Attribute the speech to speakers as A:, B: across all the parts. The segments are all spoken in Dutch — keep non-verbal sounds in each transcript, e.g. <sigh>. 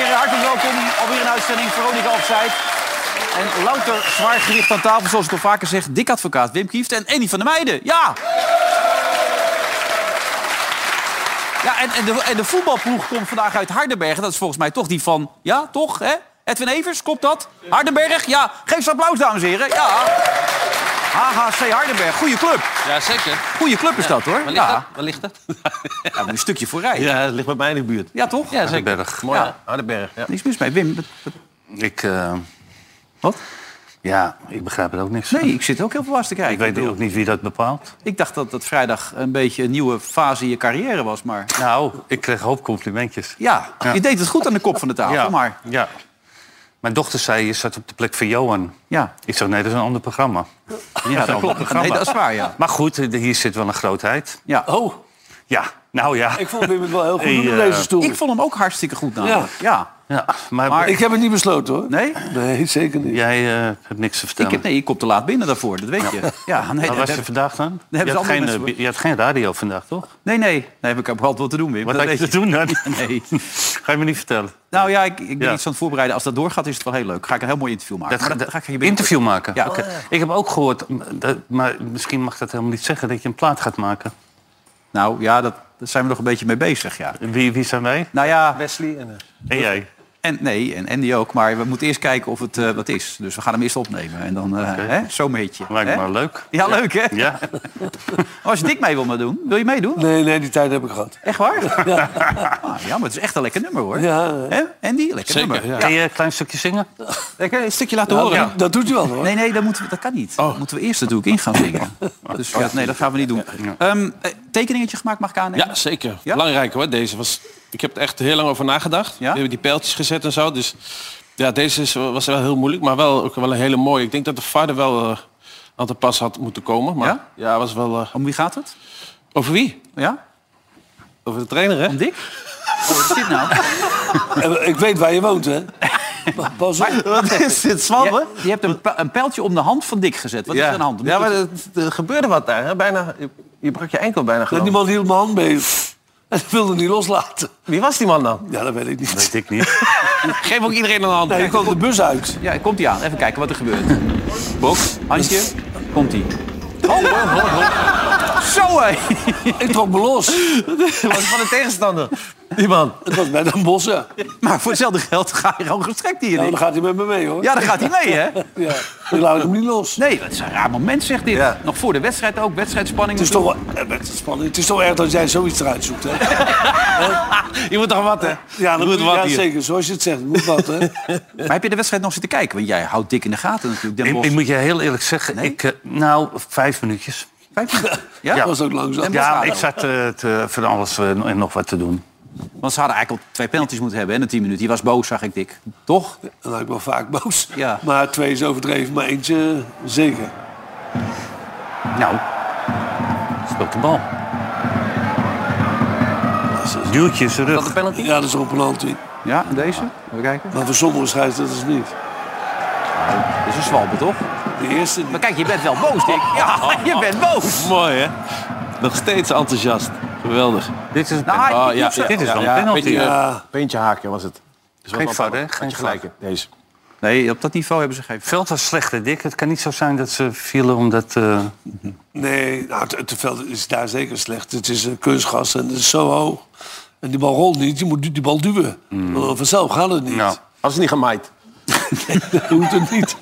A: welkom op weer een uitzending Veronica Opzij. En louter zwaar gewicht aan tafel, zoals ik al vaker zeg. Dik advocaat Wim Kieft en Annie van der Meijden. Ja! Ja, en, en, de, en de voetbalploeg komt vandaag uit Hardenberg. Dat is volgens mij toch die van... Ja, toch, hè? Edwin Evers, klopt dat? Hardenberg, ja. Geef ze applaus, dames en heren. Ja. HHC Hardenberg, goede club.
B: Ja, zeker.
A: Goede club is dat, hoor.
B: Waar ligt dat?
A: Ja,
B: Waar ligt dat?
A: ja moet je een stukje voorrijden. Ja.
C: <laughs> Ja, het ligt bij mij in de buurt.
A: toch?
B: Ja, zeker.
C: Berg. Mooi,
A: Ja.
C: ja. Hardenberg. Ja.
A: Niks mis mee. Wim, wat- wat-
C: Ik, eh,
A: wat?
C: ja, ik begrijp er ook niks van.
A: Nee, ik zit ook heel verrast te kijken.
C: Ik weet
A: bedoel,
C: ook niet wie dat bepaalt.
A: ik dacht dat dat vrijdag een beetje een nieuwe fase in je carrière was. Maar
C: Nou, ik kreeg een hoop complimentjes.
A: ja,
C: Ja.
A: je deed het goed aan de kop van de tafel. Maar
C: ja. Mijn dochter zei, je zat op de plek van Johan.
A: ja,
C: Ik zei, nee, dat is een ander programma.
A: <laughs>
C: Ja, dat klopt.
A: nee, dat is waar, ja.
C: Maar goed, eh, hier zit wel een grootheid.
A: ja.
D: Oh,
C: Ja, nou ja.
D: ik vond Wim het wel heel <laughs> goed
C: Hey,
D: doen op
C: eh,
D: deze stoel.
A: Ik vond hem ook hartstikke goed namelijk. Ja.
C: ja maar,
A: Maar-
D: Ik heb het niet besloten hoor.
A: Nee?
D: Nee, <laughs> zeker niet.
C: jij eh, hebt niks te
A: Ik
C: vertellen.
A: heb, nee, ik kom te laat binnen daarvoor, dat weet je. Ja, nee,
C: Waar
A: dat-
C: was je vandaag dan? Je
A: hebben ze
C: had,
A: andere
C: geen,
A: mensen
C: eh,
A: voor.
C: je had geen radio vandaag, toch?
A: nee, nee. Nee, heb ik heb altijd wat te doen, Wim.
C: Wat
A: dat
C: had je
A: weet
C: te doen dan? <laughs>
A: je. Nee.
C: Ga je me niet vertellen.
A: Nou ja, ik, ik ben
C: Ja.
A: iets aan het voorbereiden. Als dat doorgaat, is het wel heel leuk. Ga ik een heel mooi interview maken.
C: Dat,
A: Maar
C: dat,
A: ga ik aan je binnen-
C: interview maken?
A: Ja.
C: Oké. Ik heb ook gehoord, m, dat, maar misschien mag ik dat helemaal niet zeggen... dat je een plaat gaat maken.
A: Nou ja, dat, daar zijn we nog een beetje mee bezig, ja.
C: Wie, wie zijn wij?
A: Nou ja,
D: Wesley en... eh,
C: En jij.
A: en nee, en Andy ook. Maar we moeten eerst kijken of het eh, wat is. Dus we gaan hem eerst opnemen. En dan, eh hè, zo meet je.
C: Lijkt
A: hè?
C: me wel leuk.
A: Ja, leuk hè? Oh,
C: Ja,
A: Als je dik mee wil maar doen, wil je meedoen?
D: Nee, nee, die tijd heb ik gehad.
A: Echt waar? Ah, ja, maar het is echt een lekker nummer hoor.
D: Ja, eh,
A: Hè? Andy, lekker
B: Zeker,
A: nummer.
B: ja.
C: Kan je een klein stukje zingen?
A: Lekker een stukje laten
D: dat,
A: horen.
D: doet- dat doet u wel hoor.
A: Nee, nee, dat, moeten we, dat kan niet. Dat moeten we eerst natuurlijk in gaan zingen. Dus ja, nee, dat gaan we niet doen. Ehm, eh, tekeningetje gemaakt mag ik aannemen?
B: Ja, zeker.
A: Ja?
B: Belangrijk hoor, deze. Was, ik heb er echt heel lang over nagedacht. We hebben die pijltjes gezet en zo. Dus ja, deze is, was wel heel moeilijk, maar wel, ook wel een hele mooie. Ik denk dat de vader wel eh, aan de pas had moeten komen. Maar
A: Ja?
B: ja, was wel... eh,
A: Om wie gaat het?
B: over wie?
A: Ja?
B: Over de trainer, hè?
A: Om Dick? Wat is dit nou?
D: En eh, Ik weet waar je
A: <laughs>
D: woont hè. Pa- Pas op.
A: Wat is dit, Je, Oh, je hebt een, pa- een pijltje om de hand van Dick gezet. Wat is er aan de hand?
E: Ja, maar er, er gebeurde wat daar. Hè? Bijna, je, je brak je enkel bijna
D: Dat
E: geloof ik.
D: niemand hield mijn hand mee. En ik wilde niet loslaten.
E: Wie was die man dan?
D: Ja, dat weet ik niet.
C: Weet ik niet.
B: Geef ook iedereen een hand.
D: Nee, ik kwam de bus uit.
A: Ja, komt hij aan. Even kijken wat er gebeurt. Box, handje, komt hij. Oh, oh, oh. Zo hé!
D: Ik trok me los.
E: Die was van de tegenstander. Die man.
D: Het was bij Den Bosch. hè.
A: Maar voor hetzelfde geld ga je gewoon gestrekt hier.
D: Nou,
A: in.
D: dan gaat hij met me mee hoor.
A: Ja, dan gaat hij mee hè?
D: Ja. Ik laat hem niet los.
A: Nee, dat is een raar moment zegt dit.
E: Ja.
A: Nog voor de wedstrijd ook, wedstrijdspanning.
D: Het is toch wel eh, het is spannend. Het is toch erg dat jij zoiets eruit zoekt hè.
E: Je moet toch wat, hè?
D: Ja, dat
E: moet
D: moet,
E: wat
D: ja
E: hier.
D: zeker. Zoals je het zegt. het moet wat hè.
A: Maar heb je de wedstrijd nog zitten kijken? Want jij houdt dik in de gaten natuurlijk. Den
C: <laughs> Ik,
A: Bosch.
C: ik moet je heel eerlijk zeggen, ik, eh, nou, vijf minuutjes.
A: Vijf minuten. Ja?
D: Dat was ook langzaam.
A: Ja.
C: Ja, ik zat eh, te, van alles eh, en nog wat te doen.
A: Want ze hadden eigenlijk al twee penalties moeten hebben hè, in de tien minuten. Die was boos, zag ik dik. Toch?
D: Dan ben ik wel vaak boos.
A: Ja.
D: Maar twee is overdreven, maar eentje zeker.
C: Nou, speelt de bal. Duwtjes
E: De
C: rug.
E: penalty.
D: Ja, dat is op een hand in.
A: Ja, en deze? Even kijken.
D: Maar voor sommige scheidsrechters dat is niet.
A: Dat is een zwalbe, toch?
D: De eerste niet.
A: Maar kijk, je bent wel boos, dik. Ja, <laughs> je bent boos.
B: Oh. Mooi, hè? Nog steeds enthousiast. Geweldig. Oh,
C: Dit is, Ah,
A: Nou, hij-
B: ja,
A: zo.
C: dit is wel een penalty.
B: Beetje, eh,
D: Ja,
E: Peentje haakje was het. Dus
C: Geen fout, hè? Geen
E: gelijk.
C: gelijk.
E: hebt, Deze.
A: Nee, op dat niveau hebben ze geen...
C: Veld was slecht, hè, Dick. Het kan niet zo zijn dat ze vielen omdat... eh,
D: nee, nou, het, het veld is daar zeker slecht. Het is een kunstgas en het is zo hoog. En die bal rolt niet, je moet die bal duwen.
A: Hmm.
D: Want vanzelf gaat het niet.
C: nou.
E: Als ze niet
B: <laughs>
E: gemaaid.
D: Je hoeft het niet.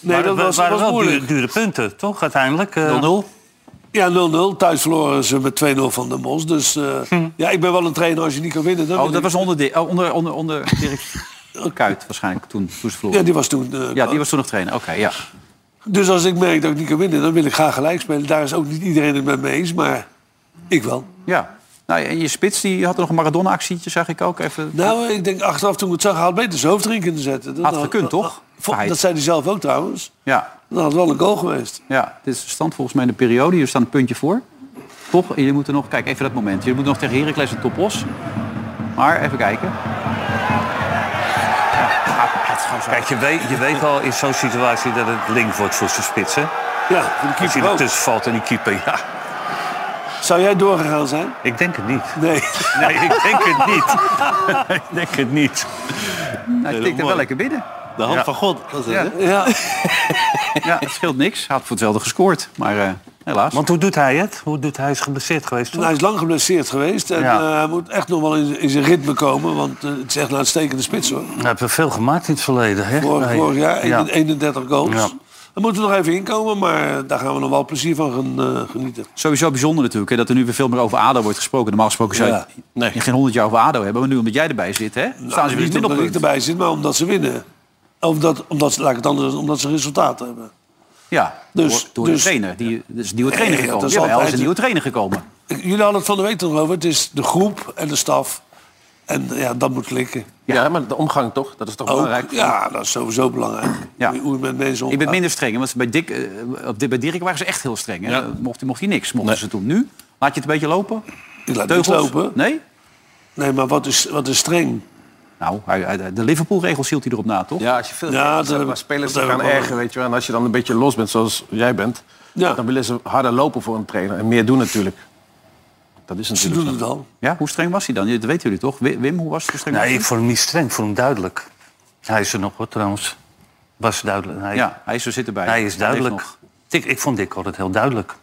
D: Nee, dat
C: Maar
D: was,
C: het waren
D: was
C: wel
D: moeilijk.
C: dure, dure punten, toch? Uiteindelijk. eh,
D: Ja, 0-0. Thuis verloren ze met 2-0 van de Mos. Dus eh, ja, ik ben wel een trainer als je niet kan winnen. Dan
A: Hm. Oh,
D: ben
A: dat
D: ik-
A: was onder, Di- oh, onder, onder, onder Dirk Kuyt waarschijnlijk toen, toen ze
D: Ja,
A: verloren.
D: die was toen... eh,
A: Ja, die was toen nog trainer. Oké, ja.
D: Dus als ik merk dat ik niet kan winnen, dan wil ik graag gelijk spelen. Daar is ook niet iedereen het met me eens, maar ik wel.
A: ja. Nou, en je spits die had nog een Maradona-actietje, zag ik ook. Even...
D: Nou, ik denk achteraf toen ik het zag, had beter zijn hoofd erin kunnen zetten. Dat
A: Had gekund, toch?
D: Vo- Dat zei hij zelf ook trouwens.
A: Ja,
D: Dat had wel een goal geweest.
A: Ja, dit is de stand volgens mij in de periode. Jullie staan een puntje voor. Toch, jullie moeten nog... Kijk, even dat moment. Jullie moeten nog tegen Heracles en Topos. Maar even kijken. Nou, Ja, het is gewoon zo.
C: Kijk, je weet, je weet al in zo'n situatie dat het link wordt voor zijn spits, hè?
D: Ja, voor de
C: Als hij
D: keeper ook.
C: ertussen valt en die keeper, ja.
D: Zou jij doorgegaan zijn?
C: Ik denk het niet.
D: Nee.
C: Nee, ik denk het niet. <laughs> ik denk het niet.
A: hij tikt er wel lekker binnen.
B: De hand van God.
A: Ja.
D: <laughs> Ja.
A: Ja, het scheelt niks. Had voor hetzelfde gescoord, maar eh, helaas.
C: Want hoe doet hij het? Hoe doet hij? hij is geblesseerd geweest,
D: En
C: toch?
D: Nou, hij is lang geblesseerd geweest. En
C: Ja.
D: eh, hij moet echt nog wel in, in zijn ritme komen. Want eh, het is echt een uitstekende spits hoor.
C: Hij heeft er veel gemaakt in het verleden, hè?
D: Vorig,
C: Nee.
D: vorig jaar
C: Ja.
D: 31 goals.
C: Ja.
D: Daar moeten we nog even inkomen. Maar eh, daar gaan we nog wel plezier van gaan, eh, genieten.
A: Sowieso bijzonder natuurlijk, hè, dat er nu weer veel meer over ADO wordt gesproken. Normaal gesproken zou je
D: Ja. Nou,
B: Nee.
A: geen honderd jaar over ADO hebben. Maar nu omdat jij erbij zit, hè, staan ze weer in
D: niet
A: het
D: omdat ik
A: middelpunt.
D: erbij zit, maar omdat ze winnen. Omdat, omdat, ze- laat ik het anders zeggen, omdat ze resultaten hebben.
A: Ja,
D: Dus-
A: door, door
D: dus-
A: de trainer. Die, er is een nieuwe trainer
D: Ja, ja,
A: gekomen. Ja,
D: dat is
A: wel, er is
D: altijd-
A: een nieuwe trainer gekomen.
D: Ik- Jullie hadden het van de week nog over. Het is de groep en de staf. En eh, ja, dat moet klikken.
B: Ja. maar de omgang toch? Dat is toch
D: Ook,
B: belangrijk?
D: ja, dat is sowieso belangrijk.
A: Ja.
D: Hoe hoe je met mensen
A: Ik
D: omgaat.
A: ben minder streng, hè, want bij, Dick, eh, op dit, bij Dirk waren ze echt heel streng. Hè?
B: Ja.
A: Mocht, mocht hij niks, mochten ze toen. Nu, laat je het een beetje lopen?
D: Ik laat niet
A: Teugels?
D: lopen.
A: Nee?
D: Nee, maar wat is, wat is streng?
A: Nou, hij- hij- de Liverpool-regels hield hij erop na, toch?
B: Ja, als je veel
D: Ja,
B: ja,
D: dat heb ik-
B: spelers
D: dat heb
B: gaan
D: ik wel.
B: erger, weet je wel. En als je dan een beetje los bent, zoals jij bent,
D: Ja.
B: dan willen ze harder lopen voor een trainer en meer doen natuurlijk. Dat is
D: Ze
B: natuurlijk.
D: doen
B: zo.
D: het al.
A: Ja, hoe streng was hij dan? Dat weten jullie toch? Wi- Wim, hoe was het? Hoe streng was
C: Nee,
A: hij?
C: ik vond hem niet streng, ik vond hem duidelijk. Hij is er nog, hoor, trouwens. Was duidelijk. Hij,
A: Ja, hij is er zitten bij.
C: hij is duidelijk.
A: nog.
C: Ik, ik vond Dick altijd heel duidelijk.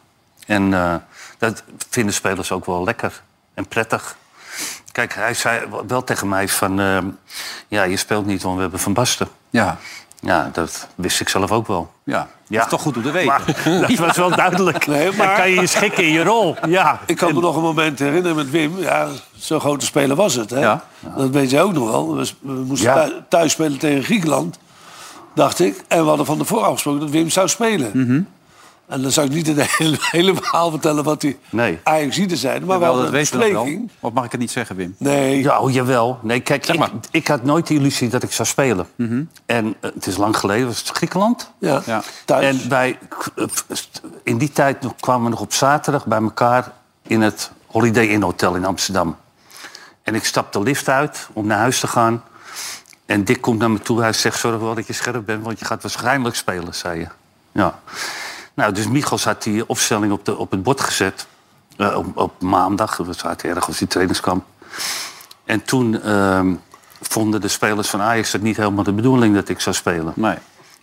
C: En eh, dat vinden spelers ook wel lekker en prettig. Kijk, hij zei wel tegen mij van... eh, ja, je speelt niet, want we hebben Van Basten.
A: Ja,
C: Ja, dat wist ik zelf ook wel.
A: ja.
C: Ja.
A: Dat is toch goed om te weten.
C: Maar <laughs> dat was wel duidelijk.
D: Nee, maar-
C: Dan kan je je schikken in je rol. Ja.
D: Ik kan me nog een moment herinneren met Wim. Ja, zo'n grote speler was het. Hè?
A: Ja.
D: Dat weet je ook nog wel. We, we moesten
C: Ja.
D: thu- thuis spelen tegen Griekenland, dacht ik. En we hadden van tevoren afgesproken dat Wim zou spelen.
A: Mhm.
D: En dan zou ik niet het <laughs> hele, hele verhaal vertellen wat die
C: Nee.
D: ajax zijn. Maar
A: Wel,
D: wel
A: dat
D: een
A: weten we nog wel.
D: bespreking.
A: Of mag ik het niet zeggen, Wim?
D: Nee,
C: Ja, oh, jawel. Nee, kijk,
B: Zeg
C: ik,
B: maar.
C: ik had nooit de illusie dat ik zou spelen. En eh, het is lang geleden, was het Griekenland?
D: ja.
A: Ja.
D: thuis.
C: En wij, eh, in die tijd nog- kwamen we nog op zaterdag bij elkaar in het Holiday Inn Hotel in Amsterdam. En ik stap de lift uit om naar huis te gaan. En Dick komt naar me toe. Hij zegt, zorg wel dat je scherp bent, want je gaat waarschijnlijk spelen, zei je. Ja. Nou, dus Michels had die opstelling op, de, op het bord gezet. eh, op, op maandag, we zaten ergens in trainingskamp. En toen ehm, vonden de spelers van Ajax het niet helemaal de bedoeling dat ik zou spelen.
A: Nee.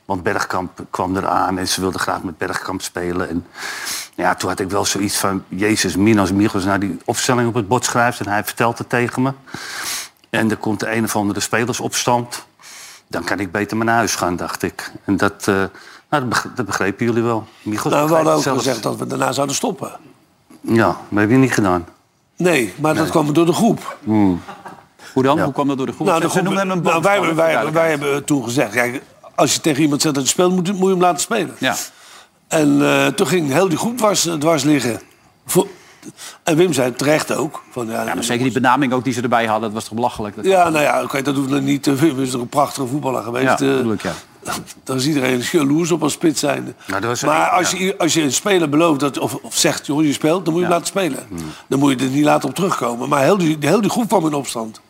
C: Want Bergkamp kwam eraan en ze wilden graag met Bergkamp spelen. En ja, toen had ik wel zoiets van... Jezus, Minos Michels nou die opstelling op het bord schrijft... en hij vertelt het tegen me. En er komt de een of andere spelersopstand. Dan kan ik beter maar naar huis gaan, dacht ik. En dat, eh, nou, dat, beg- dat begrepen jullie wel. Michels
D: nou, we
C: begreep
D: hadden ook
C: het zelfs.
D: gezegd dat we daarna zouden stoppen.
C: Ja, maar dat heb je niet gedaan.
D: Nee, maar dat kwam door de groep.
A: Hoe dan? Hoe kwam dat door de groep?
D: Nou, de
A: Ze- ze
D: groep-
A: noemden hem een
D: nou,
A: boomstammer,
D: wij,
A: voor
D: wij, wij
A: duidelijkheid.
D: hebben toen gezegd, kijk, als je tegen iemand zegt dat je speelt, moet, je- moet je hem laten spelen.
A: Ja.
D: En eh, toen ging heel die groep dwars, eh, dwars liggen. Voor- en Wim zei terecht ook. Van, ja,
A: Ja, maar zeker die benaming ook die ze erbij hadden, dat was toch belachelijk. Dat-
D: Ja, nou ja, oké, dat hoeft nog niet. Wim is toch een prachtige voetballer
A: Ja,
D: geweest. eh,
A: bedoel
D: <laughs>
A: ik, ja.
D: daar is iedereen jaloers op als spits zijn.
C: Nou, dat was-
D: maar als,
C: ja.
D: je, als je een speler belooft dat, of, of zegt, joh, je speelt, dan moet je hem laten spelen.
C: Hmm.
D: Dan moet je er niet laten op terugkomen. Maar heel die, heel die groep kwam in opstand.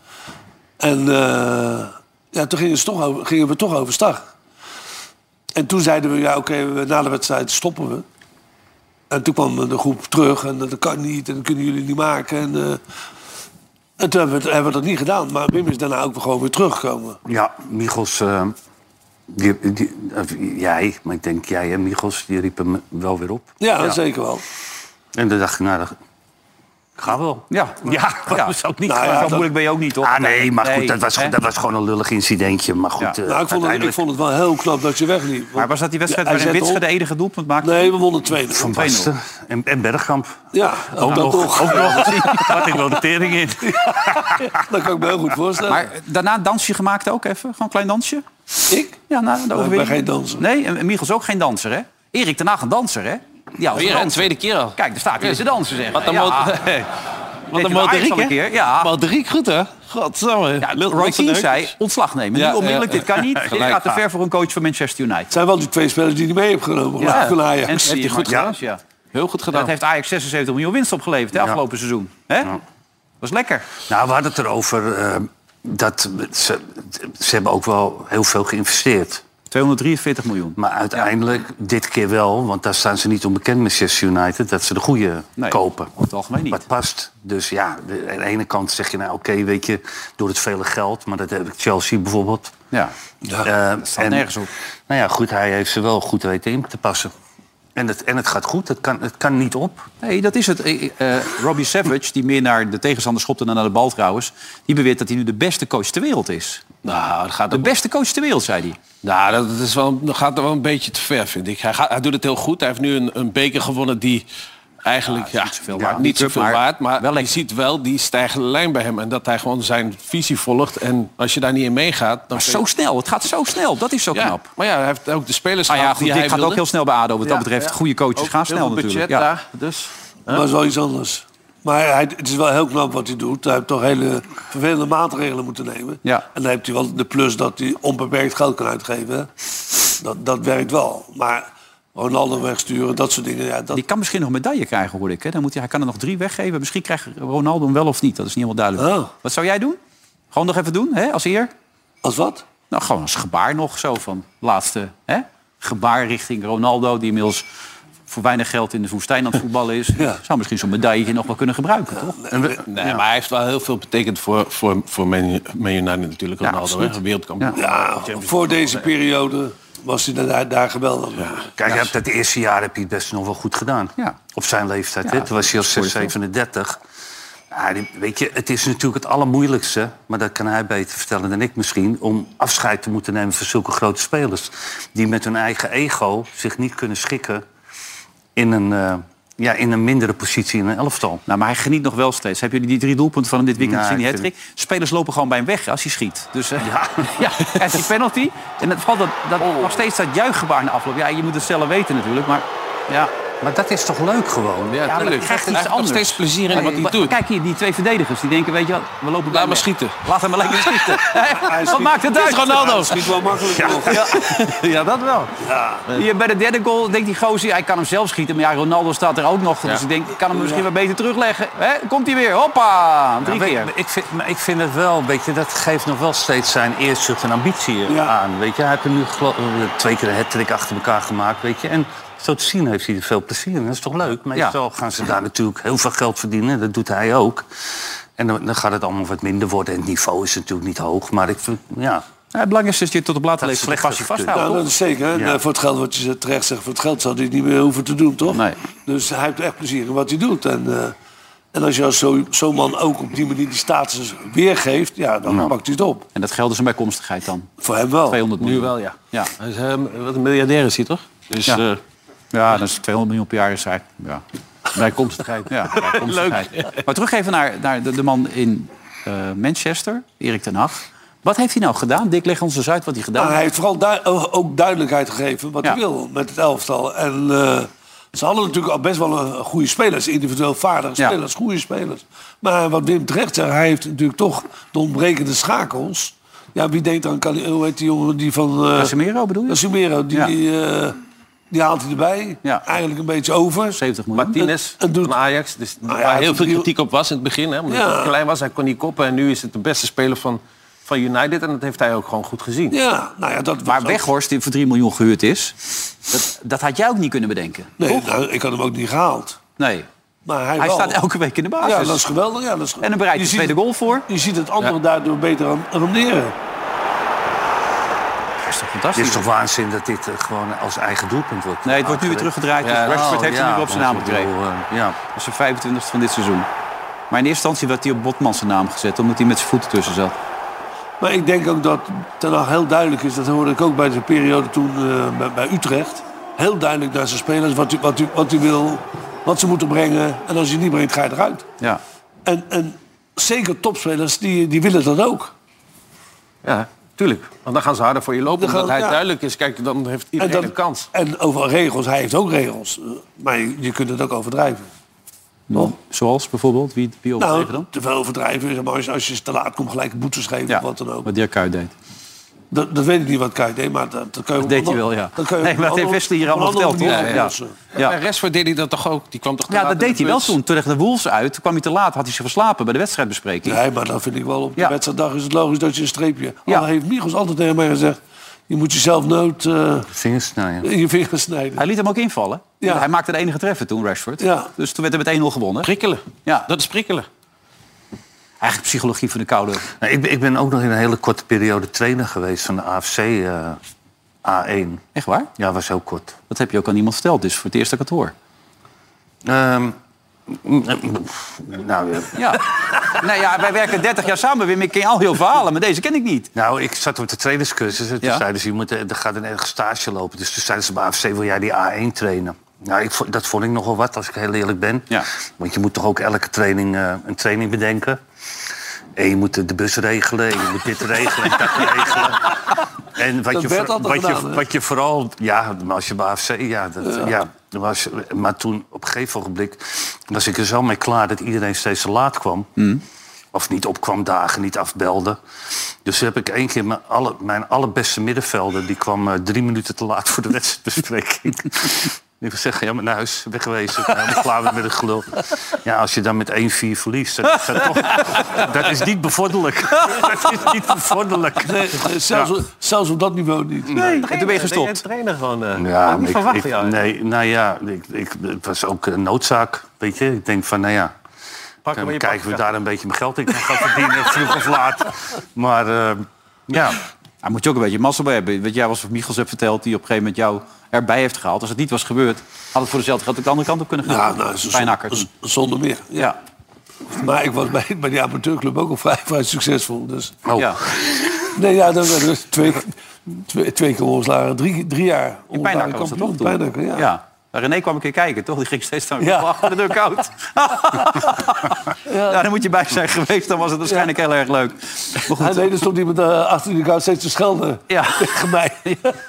D: En eh, ja, toen gingen, ze toch over, gingen we toch overstag. En toen zeiden we, ja oké, we- na de wedstrijd stoppen we. En toen kwam de groep terug en dat kan niet en dat kunnen jullie niet maken. En, eh, en toen hebben we, het- hebben we dat niet gedaan. Maar Wim is daarna ook gewoon weer teruggekomen.
C: Ja, Michels... eh, die, die- of jij, maar ik denk jij en Michels, die riepen me wel weer op.
D: Ja, zeker wel.
C: En toen dacht ik, nou, dat... ik ga wel.
A: Ja.
C: Ja, <laughs> dat
A: Ja.
C: was ook niet
D: Nou ja,
A: Zo
C: graag.
D: dat-
A: moeilijk ben je ook niet, toch?
C: Ah nee, maar goed, dat was,
A: hè?
C: dat was gewoon een lullig incidentje. Maar goed,
A: Ja.
C: eh,
D: Nou, ik, vond het, ik
C: uiteindelijk
D: vond het wel heel knap dat je wegliep. Want
A: Maar was dat die wedstrijd
D: hij
A: waarin
D: zette
A: Witsche
D: op.
A: de enige doelpunt maakte?
D: Nee, we wonnen 2
C: Van
A: 2-0.
C: Basten en, en Bergkamp.
D: Ja, ook dat toch.
C: Ook nog. Oh.
D: <laughs>
C: Had ik wel de tering in.
D: Dat kan ik me heel goed voorstellen.
A: Maar eh, daarna een dansje gemaakt ook even? Gewoon een klein dansje?
D: ik?
A: Ja, na de
D: ben
A: overwinning.
D: geen danser.
A: Nee, en en Michels ook geen danser, hè? Erik daarna een danser, hè? Ja, als een
B: Weer een
A: danser.
B: Oh tweede keer al.
A: Kijk, daar staat hij dus te dansen, zeg.
B: Wat een
A: ja.
B: mot- <laughs> Wat
A: Tegen de
B: een
A: Ajax
B: motoriek,
A: al een keer,
B: hè?
A: ja.
B: Motoriek, goed, hè? Godsamme.
A: Ja, Roy Keane zei, ontslag nemen.
B: Ja,
A: nu onmiddellijk,
B: ja.
A: dit
B: <laughs>
A: kan niet. dit
B: Gelijk.
A: gaat te ver voor een coach van Manchester United.
D: Het zijn wel die twee spelers die je mee hebt genomen. Ja. Van
A: En
D: Ajax.
A: heeft hij goed
C: gedaan?
A: Ja.
B: Heel goed
A: Dat
B: gedaan.
A: heeft Ajax 76 miljoen winst opgeleverd, hè, afgelopen seizoen. Hè? was lekker.
C: <laughs> Nou, we hadden het erover eh, dat we- ze, ze hebben ook wel heel veel geïnvesteerd.
A: 243 miljoen.
C: Maar uiteindelijk, dit keer wel, want daar staan ze niet onbekend, Manchester United, dat ze de goede
A: Nee,
C: kopen.
A: over het algemeen niet.
C: Maar het past. Dus ja, de- aan de ene kant zeg je nou oké, weet je, door het vele geld, maar dat heb ik Chelsea bijvoorbeeld.
A: Ja.
C: Eh,
A: staat
C: en-
A: nergens op.
C: Nou ja, goed, hij heeft ze wel goed weten in te passen. En het, en het gaat goed, het kan, het kan niet op.
A: Nee, dat is het. Eh, eh, Robbie Savage, die meer naar de tegenstander schopte dan naar de bal trouwens... die beweert dat hij nu de beste coach ter wereld is.
B: Nou, dat gaat
A: De
B: ook
A: beste coach ter wereld, zei hij.
B: Nou, dat, dat is wel, dat gaat er wel een beetje te ver, vind ik. Hij, gaat, hij doet het heel goed. Hij heeft nu een, een beker gewonnen die eigenlijk ja,
A: niet zoveel
B: ja,
A: waard.
B: niet zoveel
A: Maar
B: waard. Maar
A: wel
B: je
A: lekker.
B: ziet wel die stijgende lijn bij hem. En dat hij gewoon zijn visie volgt. En als je daar niet in meegaat... Dan
A: Maar
B: kun
A: zo
B: je-
A: snel, het gaat zo snel. Dat is zo
B: ja,
A: knap.
B: Maar ja, hij heeft ook de spelers
A: Ah ja,
B: gehad
A: goed,
B: die
A: dit
B: hij
A: gaat ook
B: wilde.
A: heel snel bij ADO. Wat dat betreft,
E: ja.
A: goede coaches
E: Ook
A: gaan
E: heel
A: snel
E: veel budget
A: natuurlijk. Ja.
E: daar, dus
D: Maar het is wel iets anders. Maar hij, het is wel heel knap wat hij doet. Hij heeft toch hele vervelende maatregelen moeten nemen.
A: Ja.
D: En dan heeft hij wel de plus dat hij onbeperkt geld kan uitgeven. hè. Dat, dat werkt wel. Maar Ronaldo wegsturen, dat soort dingen. Ja, dat,
A: Die kan misschien nog een medaille krijgen, hoor ik. Hè? Dan moet hij, hij kan er nog drie weggeven. Misschien krijgt Ronaldo hem wel of niet. Dat is niet helemaal duidelijk.
D: Oh.
A: Wat zou jij doen? Gewoon nog even doen, hè, als eer?
D: Als wat?
A: Nou, gewoon als gebaar nog zo van laatste hè? gebaar richting Ronaldo... die inmiddels voor weinig geld in de woestijn aan het voetballen
B: <laughs>
A: is.
D: Ja.
A: Zou misschien zo'n medaille nog wel kunnen gebruiken, toch?
B: Nee, maar hij heeft wel heel veel betekend voor, voor, voor Man Man United natuurlijk.
A: Ja,
B: Ronaldo, hè,
A: absoluut.
B: wereldkampioen.
D: Ja, voor deze periode was hij daar, daar geweldig.
C: Kijk, hij hebt dat eerste jaar heb hij het best nog wel goed gedaan.
A: Ja.
C: Op zijn leeftijd.
A: Ja,
C: hè? Toen was hij al
A: voor je
C: 6, 37. Ja, die- weet je, het is natuurlijk het allermoeilijkste, maar dat kan hij beter vertellen dan ik misschien, om afscheid te moeten nemen van zulke grote spelers. Die met hun eigen ego zich niet kunnen schikken in een, eh, ja, in een mindere positie in een elftal.
A: Nou, maar hij geniet nog wel steeds. Hebben jullie die drie doelpunten van hem dit weekend
C: Nou,
A: gezien?
C: ik
A: Die
C: vind-
A: hattrick? Spelers lopen gewoon bij hem weg als hij schiet. Dus eh, <laughs> ja. hij heeft die penalty. En het valt dat, dat
B: Oh.
A: nog steeds dat juichgebaar na afloop. Ja, je moet het zelf weten natuurlijk, maar ja.
C: <laughs> Maar dat is toch leuk gewoon?
B: Ja,
A: maar
B: tuurlijk.
A: hij krijgt
B: Hij
A: iets
B: heeft nog
A: anders.
B: steeds plezier in wat hij
A: Maar
B: doet.
A: Kijk hier, die twee verdedigers. Die denken, weet je wat, we lopen bij
B: maar
A: hem weg.
B: schieten.
A: Laat hem maar lekker
B: <laughs>
A: schieten. wat maakt het
B: Het
A: uit?
B: is Ronaldo.
D: Niet wel makkelijk. nog.
A: <laughs>
E: ja, dat wel.
A: Hier bij de derde goal denkt die gozer, hij kan hem zelf schieten. Maar ja, Ronaldo staat er ook nog. Dus ik denk, ik kan hem misschien wel beter terugleggen. Hè? Komt hij weer, hoppa. Drie
C: Nou, Maar
A: keer.
C: Ik, ik vind, maar ik vind het wel, weet je, dat geeft nog wel steeds zijn eerzucht en ambitie
D: Ja.
C: aan. Weet je, hij heeft er nu gelo- eh, twee keer een hat achter elkaar gemaakt, weet je. En zo te zien heeft hij er veel plezier in. Dat is toch leuk? Meestal gaan ze daar natuurlijk heel veel geld verdienen. Dat doet hij ook. En dan, dan gaat het allemaal wat minder worden. En het niveau is natuurlijk niet hoog. Maar ik vind, ja,
A: Ja, het belangrijkste is dat je tot op later
C: Dat is
A: leven de passie
C: slechter
A: vasthoudt.
D: Nou,
A: toch?
D: dat is zeker. hè.
C: Ja.
D: En Voor het geld wat je zegt, terecht zegt, voor het geld zou hij het niet meer hoeven te doen, toch?
A: Nee.
D: Dus hij heeft echt plezier in wat hij doet. En, eh, en als je als zo- zo'n man ook op die manier die status weergeeft, ja, dan pakt hij het op.
A: En dat geldt dus een bijkomstigheid dan.
D: Voor hem wel.
A: 200 miljoen.
B: Nu wel, ja.
A: Oh, Ja.
B: Hij is, eh, wat een miljardair is hij, toch? Dus...
A: Ja.
B: eh,
A: ja, dat is 200 miljoen per jaar is eigenlijk. Ja. Bijkomstigheid. Ja, <laughs> bijkomstigheid. Maar terug even naar, naar de, de man in eh, Manchester, Erik ten Hag. Wat heeft hij nou gedaan? Dick, leg ons eens uit wat hij gedaan
D: Maar
A: heeft.
D: hij heeft vooral dui- ook duidelijkheid gegeven wat
A: Ja.
D: hij wil met het elftal. En eh, ze hadden natuurlijk al best wel een goede spelers. Individueel vaardige
A: Ja.
D: spelers, goede spelers. Maar wat Wim terecht zegt, hij heeft natuurlijk toch de ontbrekende schakels. Ja, wie denkt dan, kan, hoe heet die jongen die van... eh,
A: Casemiro bedoel je?
D: Casemiro, die,
A: Ja.
D: eh, die haalt hij erbij.
A: Ja.
D: Eigenlijk een beetje over.
A: 70 miljoen.
B: Martinez
D: Het doet-
B: van Ajax,
A: Ah,
B: dus
D: Nou ja,
B: waar heel
D: het
B: veel
D: doet-
B: kritiek op was in het begin. Hè, omdat
D: Ja.
B: hij nog klein was, hij kon niet koppen. En nu is het de beste speler van, van United. En dat heeft hij ook gewoon goed gezien.
D: Ja, nou ja, dat was
A: Waar
D: ook-
A: Weghorst, die voor 3 miljoen gehuurd is, dat, dat had jij ook niet kunnen bedenken.
D: Nee, nou, ik had hem ook niet gehaald.
A: Nee.
D: Maar hij,
A: Hij
D: wel.
A: staat elke week in de basis.
D: Ja, dat is geweldig. Ja, dat is...
A: En dan bereidt hij de
D: Je ziet
A: tweede goal voor.
D: Je ziet het andere daardoor beter ran- renderen.
A: Dat is toch
C: het
A: fantastisch?
C: is toch waanzin dat dit eh, gewoon als eigen doelpunt wordt.
A: Nee, het wordt nu weer teruggedraaid. Dus
B: Ja,
A: Rashford heeft
C: ja,
A: hem nu op zijn naam
C: want ik
A: gekregen.
C: bedoel, eh, ja.
A: Dat is zijn 25e van dit seizoen. Maar in eerste instantie werd hij op Botman zijn naam gezet... omdat hij met zijn voeten tussen zat.
D: Maar ik denk ook dat ten Hag heel duidelijk is... dat hoorde ik ook bij de periode toen eh, bij, bij Utrecht... heel duidelijk naar zijn spelers wat hij, wat, hij, wat hij wil... wat ze moeten brengen. En als je het niet brengt, ga je eruit.
A: Ja.
D: En, en zeker topspelers, die, die willen dat ook.
B: Ja, tuurlijk. Want dan gaan ze harder voor je lopen.
D: Dan
B: Omdat
D: gaan-
B: hij
D: ja.
B: duidelijk is. Kijk, dan heeft
D: En,
B: iedereen
D: dat,
B: een kans.
D: en over regels, hij heeft ook regels. Eh, Maar je, je kunt het ook overdrijven. Toch?
A: Zoals bijvoorbeeld? Wie, wie
D: Nou,
A: overtegen dan?
D: te veel overdrijven. Zeg maar als, je- als je te laat komt, gelijk boetes geven of wat dan ook.
A: Wat Dirk Kuyt deed.
D: Dat, dat weet ik niet wat Kai deed, maar dat, dat kan je op
A: deed
D: een
A: hij
D: ander-
A: wel, ja.
D: dat kan je
A: Nee,
D: op een
A: maar dat heeft
D: ander-
A: Wesley hier
D: op een
A: allemaal
D: andere
A: verteld,
D: manier
A: hoor.
D: oplossen.
A: Ja.
B: Bij Rashford deed hij dat toch ook? Die kwam toch te
A: Ja,
B: laat
A: dat
B: in de
A: deed hij wel
B: bus?
A: toen. Toen tegen de Wolves uit. Toen kwam hij te laat. Had hij zich verslapen bij de wedstrijdbespreking.
D: Nee, maar dan vind ik wel op de
A: Ja.
D: wedstrijddag is het logisch dat je een streepje...
A: Ja.
D: Al heeft Michels altijd tegen mij gezegd... Je moet jezelf nood eh,
C: Vingers snijden.
D: in je vingers snijden.
A: Hij liet hem ook invallen.
D: Ja.
A: Hij maakte de enige treffer toen, Rashford.
D: Ja.
A: Dus toen werd er met 1-0 gewonnen.
B: Prikkelen.
A: Ja.
B: Dat is prikkelen.
A: Eigenlijk psychologie van de koude.
C: Nou, ik, ben- ik ben ook nog in een hele korte periode trainer geweest van de AFC eh, A1.
A: Echt waar?
C: Ja, was heel kort.
A: Dat heb je ook aan iemand verteld, dus voor het eerste kantoor.
C: Ehm, mm, mm, nou, ja.
A: Ja. nou ja, wij werken 30 jaar samen, Wim. Ik ken al heel verhalen, maar deze ken ik niet.
C: nou, ik zat op de trainerscursus en toen
A: Ja.
C: zeiden ze... Je moet, eh, er gaat een erg stage lopen. Dus toen zeiden ze bij AFC, wil jij die A1 trainen? Nou, ik, vond- dat vond ik nogal wat, als ik heel eerlijk ben.
A: Ja.
C: Want je moet toch ook elke training eh, een training bedenken. En je moet de de bus regelen, en je moet dit regelen, en dat regelen.
D: <laughs>
C: En wat
D: Dat
C: je,
D: werd
C: voor-
D: altijd
C: wat, je,
D: gedaan, hè?
C: wat je vooral... Ja, maar als je bij AFC... Ja, dat, ja. dat was, maar toen, op een gegeven ogenblik... was ik er zo mee klaar dat iedereen steeds te laat kwam. Of niet opkwam dagen, niet afbelde. Dus toen heb ik één keer mijn, alle, mijn allerbeste middenvelder... die kwam eh, drie minuten te laat voor de <laughs> wedstrijdbespreking. <laughs> Ik wil zeggen, ja, maar naar huis, wegwezen. Nou, dan klaar weer met een gelul. Ja, als je dan met 1-4 verliest, dat is, dat toch, dat is niet bevorderlijk. <laughs> Dat is niet bevorderlijk.
D: Eh, Zelfs, zelfs op dat niveau niet.
E: Nee,
A: En toen ben je gestopt.
E: De trainer gewoon. eh,
C: Ja,
E: had niet
C: ik-
E: verwacht
C: ik,
E: van jou.
C: Nee, nou ja, ik, ik, het was ook een noodzaak, weet je. Ik denk van, nou ja,
E: Pak hem
C: dan
E: in je
C: kijken we
E: pak.
C: daar een beetje mijn geld in kan gaan verdienen, <laughs> vroeg of laat. Maar eh, ja,
A: Daar moet je ook een beetje mazzel bij hebben. Want jij was of Michels hebt verteld, die op een gegeven moment jou erbij heeft gehaald. Als het niet was gebeurd, had het voor dezelfde geld ook de andere kant op kunnen gaan.
D: Ja, nou, z-
A: Bij een hakker.
D: z- zonder meer. Ja.
A: Ja.
D: Maar ik was bij, bij die amateurclub ook al vijf jaar succesvol. Dus.
C: Oh.
A: ja.
D: Nee, ja, dan werden we twee, twee, twee keer omslagen. Drie, drie jaar
A: In Pijnakker was dat toch toen?
D: Pijnakker, ja.
A: ja. Maar René kwam een keer kijken, toch? Die ging steeds staan.
D: Ja.
A: Ja. Achter de deur koud.
D: <laughs>
A: <laughs> ja, daar moet je bij zijn geweest. Dan was het waarschijnlijk heel erg leuk. Maar
D: Hij
A: goed.
D: deed stond iemand eh, achter die kant steeds te schelden
A: Ja.
D: <laughs> tegen mij.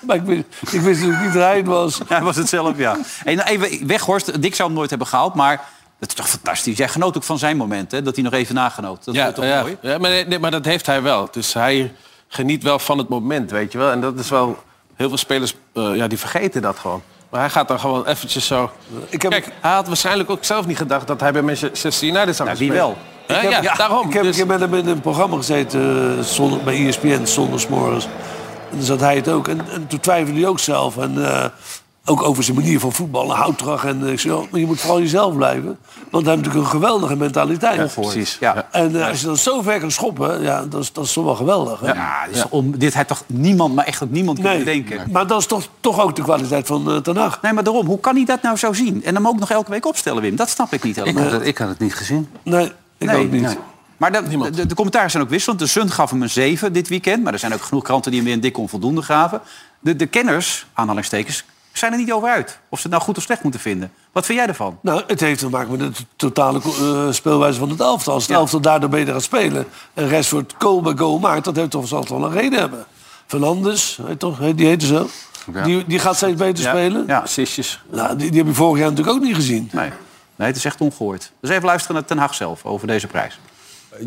D: maar ik wist, ik wist natuurlijk niet dat hij het was.
A: <laughs> Hij was het zelf, ja. En nou, even Weghorst, Dick zou hem nooit hebben gehaald, maar dat is toch fantastisch. Jij genoot ook van zijn moment, hè? Dat hij nog even nagenoot. Dat
B: Ja,
A: is toch
B: ja.
A: mooi?
B: ja maar, nee, nee, maar dat heeft hij wel. Dus hij geniet wel van het moment, weet je wel. En dat is wel... Heel veel spelers eh, ja, die vergeten dat gewoon. Maar hij gaat dan gewoon eventjes zo...
D: Ik heb-
B: Kijk, hij had waarschijnlijk ook zelf niet gedacht... dat hij bij Manchester United zou
A: Nou,
B: gaan
A: wie
B: spelen.
A: wel?
B: Hè?
D: Ik heb-
B: ja, daarom.
D: Ik heb
B: Dus-
D: ik heb met hem in een programma gezeten eh, zonder, bij ESPN, zonder smorgens. En dan zat hij het ook. En, en toen twijfelde hij ook zelf. En eh, ook over zijn manier van voetballen, houtdrag. En eh, ik zei, "Oh, maar je moet vooral jezelf blijven. Want hij heeft natuurlijk een geweldige mentaliteit.
A: precies, ja.
D: En eh, als je dan zo ver kan schoppen, ja, dat, is, dat is toch wel geweldig. hè?
A: Ja, dit, is om, dit had toch niemand, maar echt ook niemand kunnen denken. Nee.
D: maar dat is toch, toch ook de kwaliteit van eh Ten Hag.
A: maar daarom, hoe kan hij dat nou zo zien? En hem ook nog elke week opstellen, Wim? Dat snap ik niet
C: ik eh,
A: helemaal.
C: had, het, ik had het niet gezien.
D: Nee, ik
A: Nee,
D: ook niet.
A: nee. Maar de, de, de commentaren zijn ook wisselend. De Sun gaf hem een 7 dit weekend. Maar er zijn ook genoeg kranten die hem weer een dik onvoldoende gaven. De, de kenners, aanhalingstekens, zijn er niet over uit. Of ze het nou goed of slecht moeten vinden. Wat vind jij ervan?
D: Nou, het heeft te maken met de t- totale eh, speelwijze van het elftal. Als het
A: Ja.
D: elftal daardoor beter gaat spelen... en Rashford goal bij goal maakt, dat heeft toch zal toch wel een reden hebben. Fernandes, heet toch, heet- die heette zo.
C: Ja.
D: Die, die gaat steeds beter spelen.
A: Ja.
B: Assistjes.
D: Nou, die, die heb je vorig jaar natuurlijk ook niet gezien.
A: Nee. nee, het is echt ongehoord. Dus even luisteren naar Ten Hag zelf over deze prijs.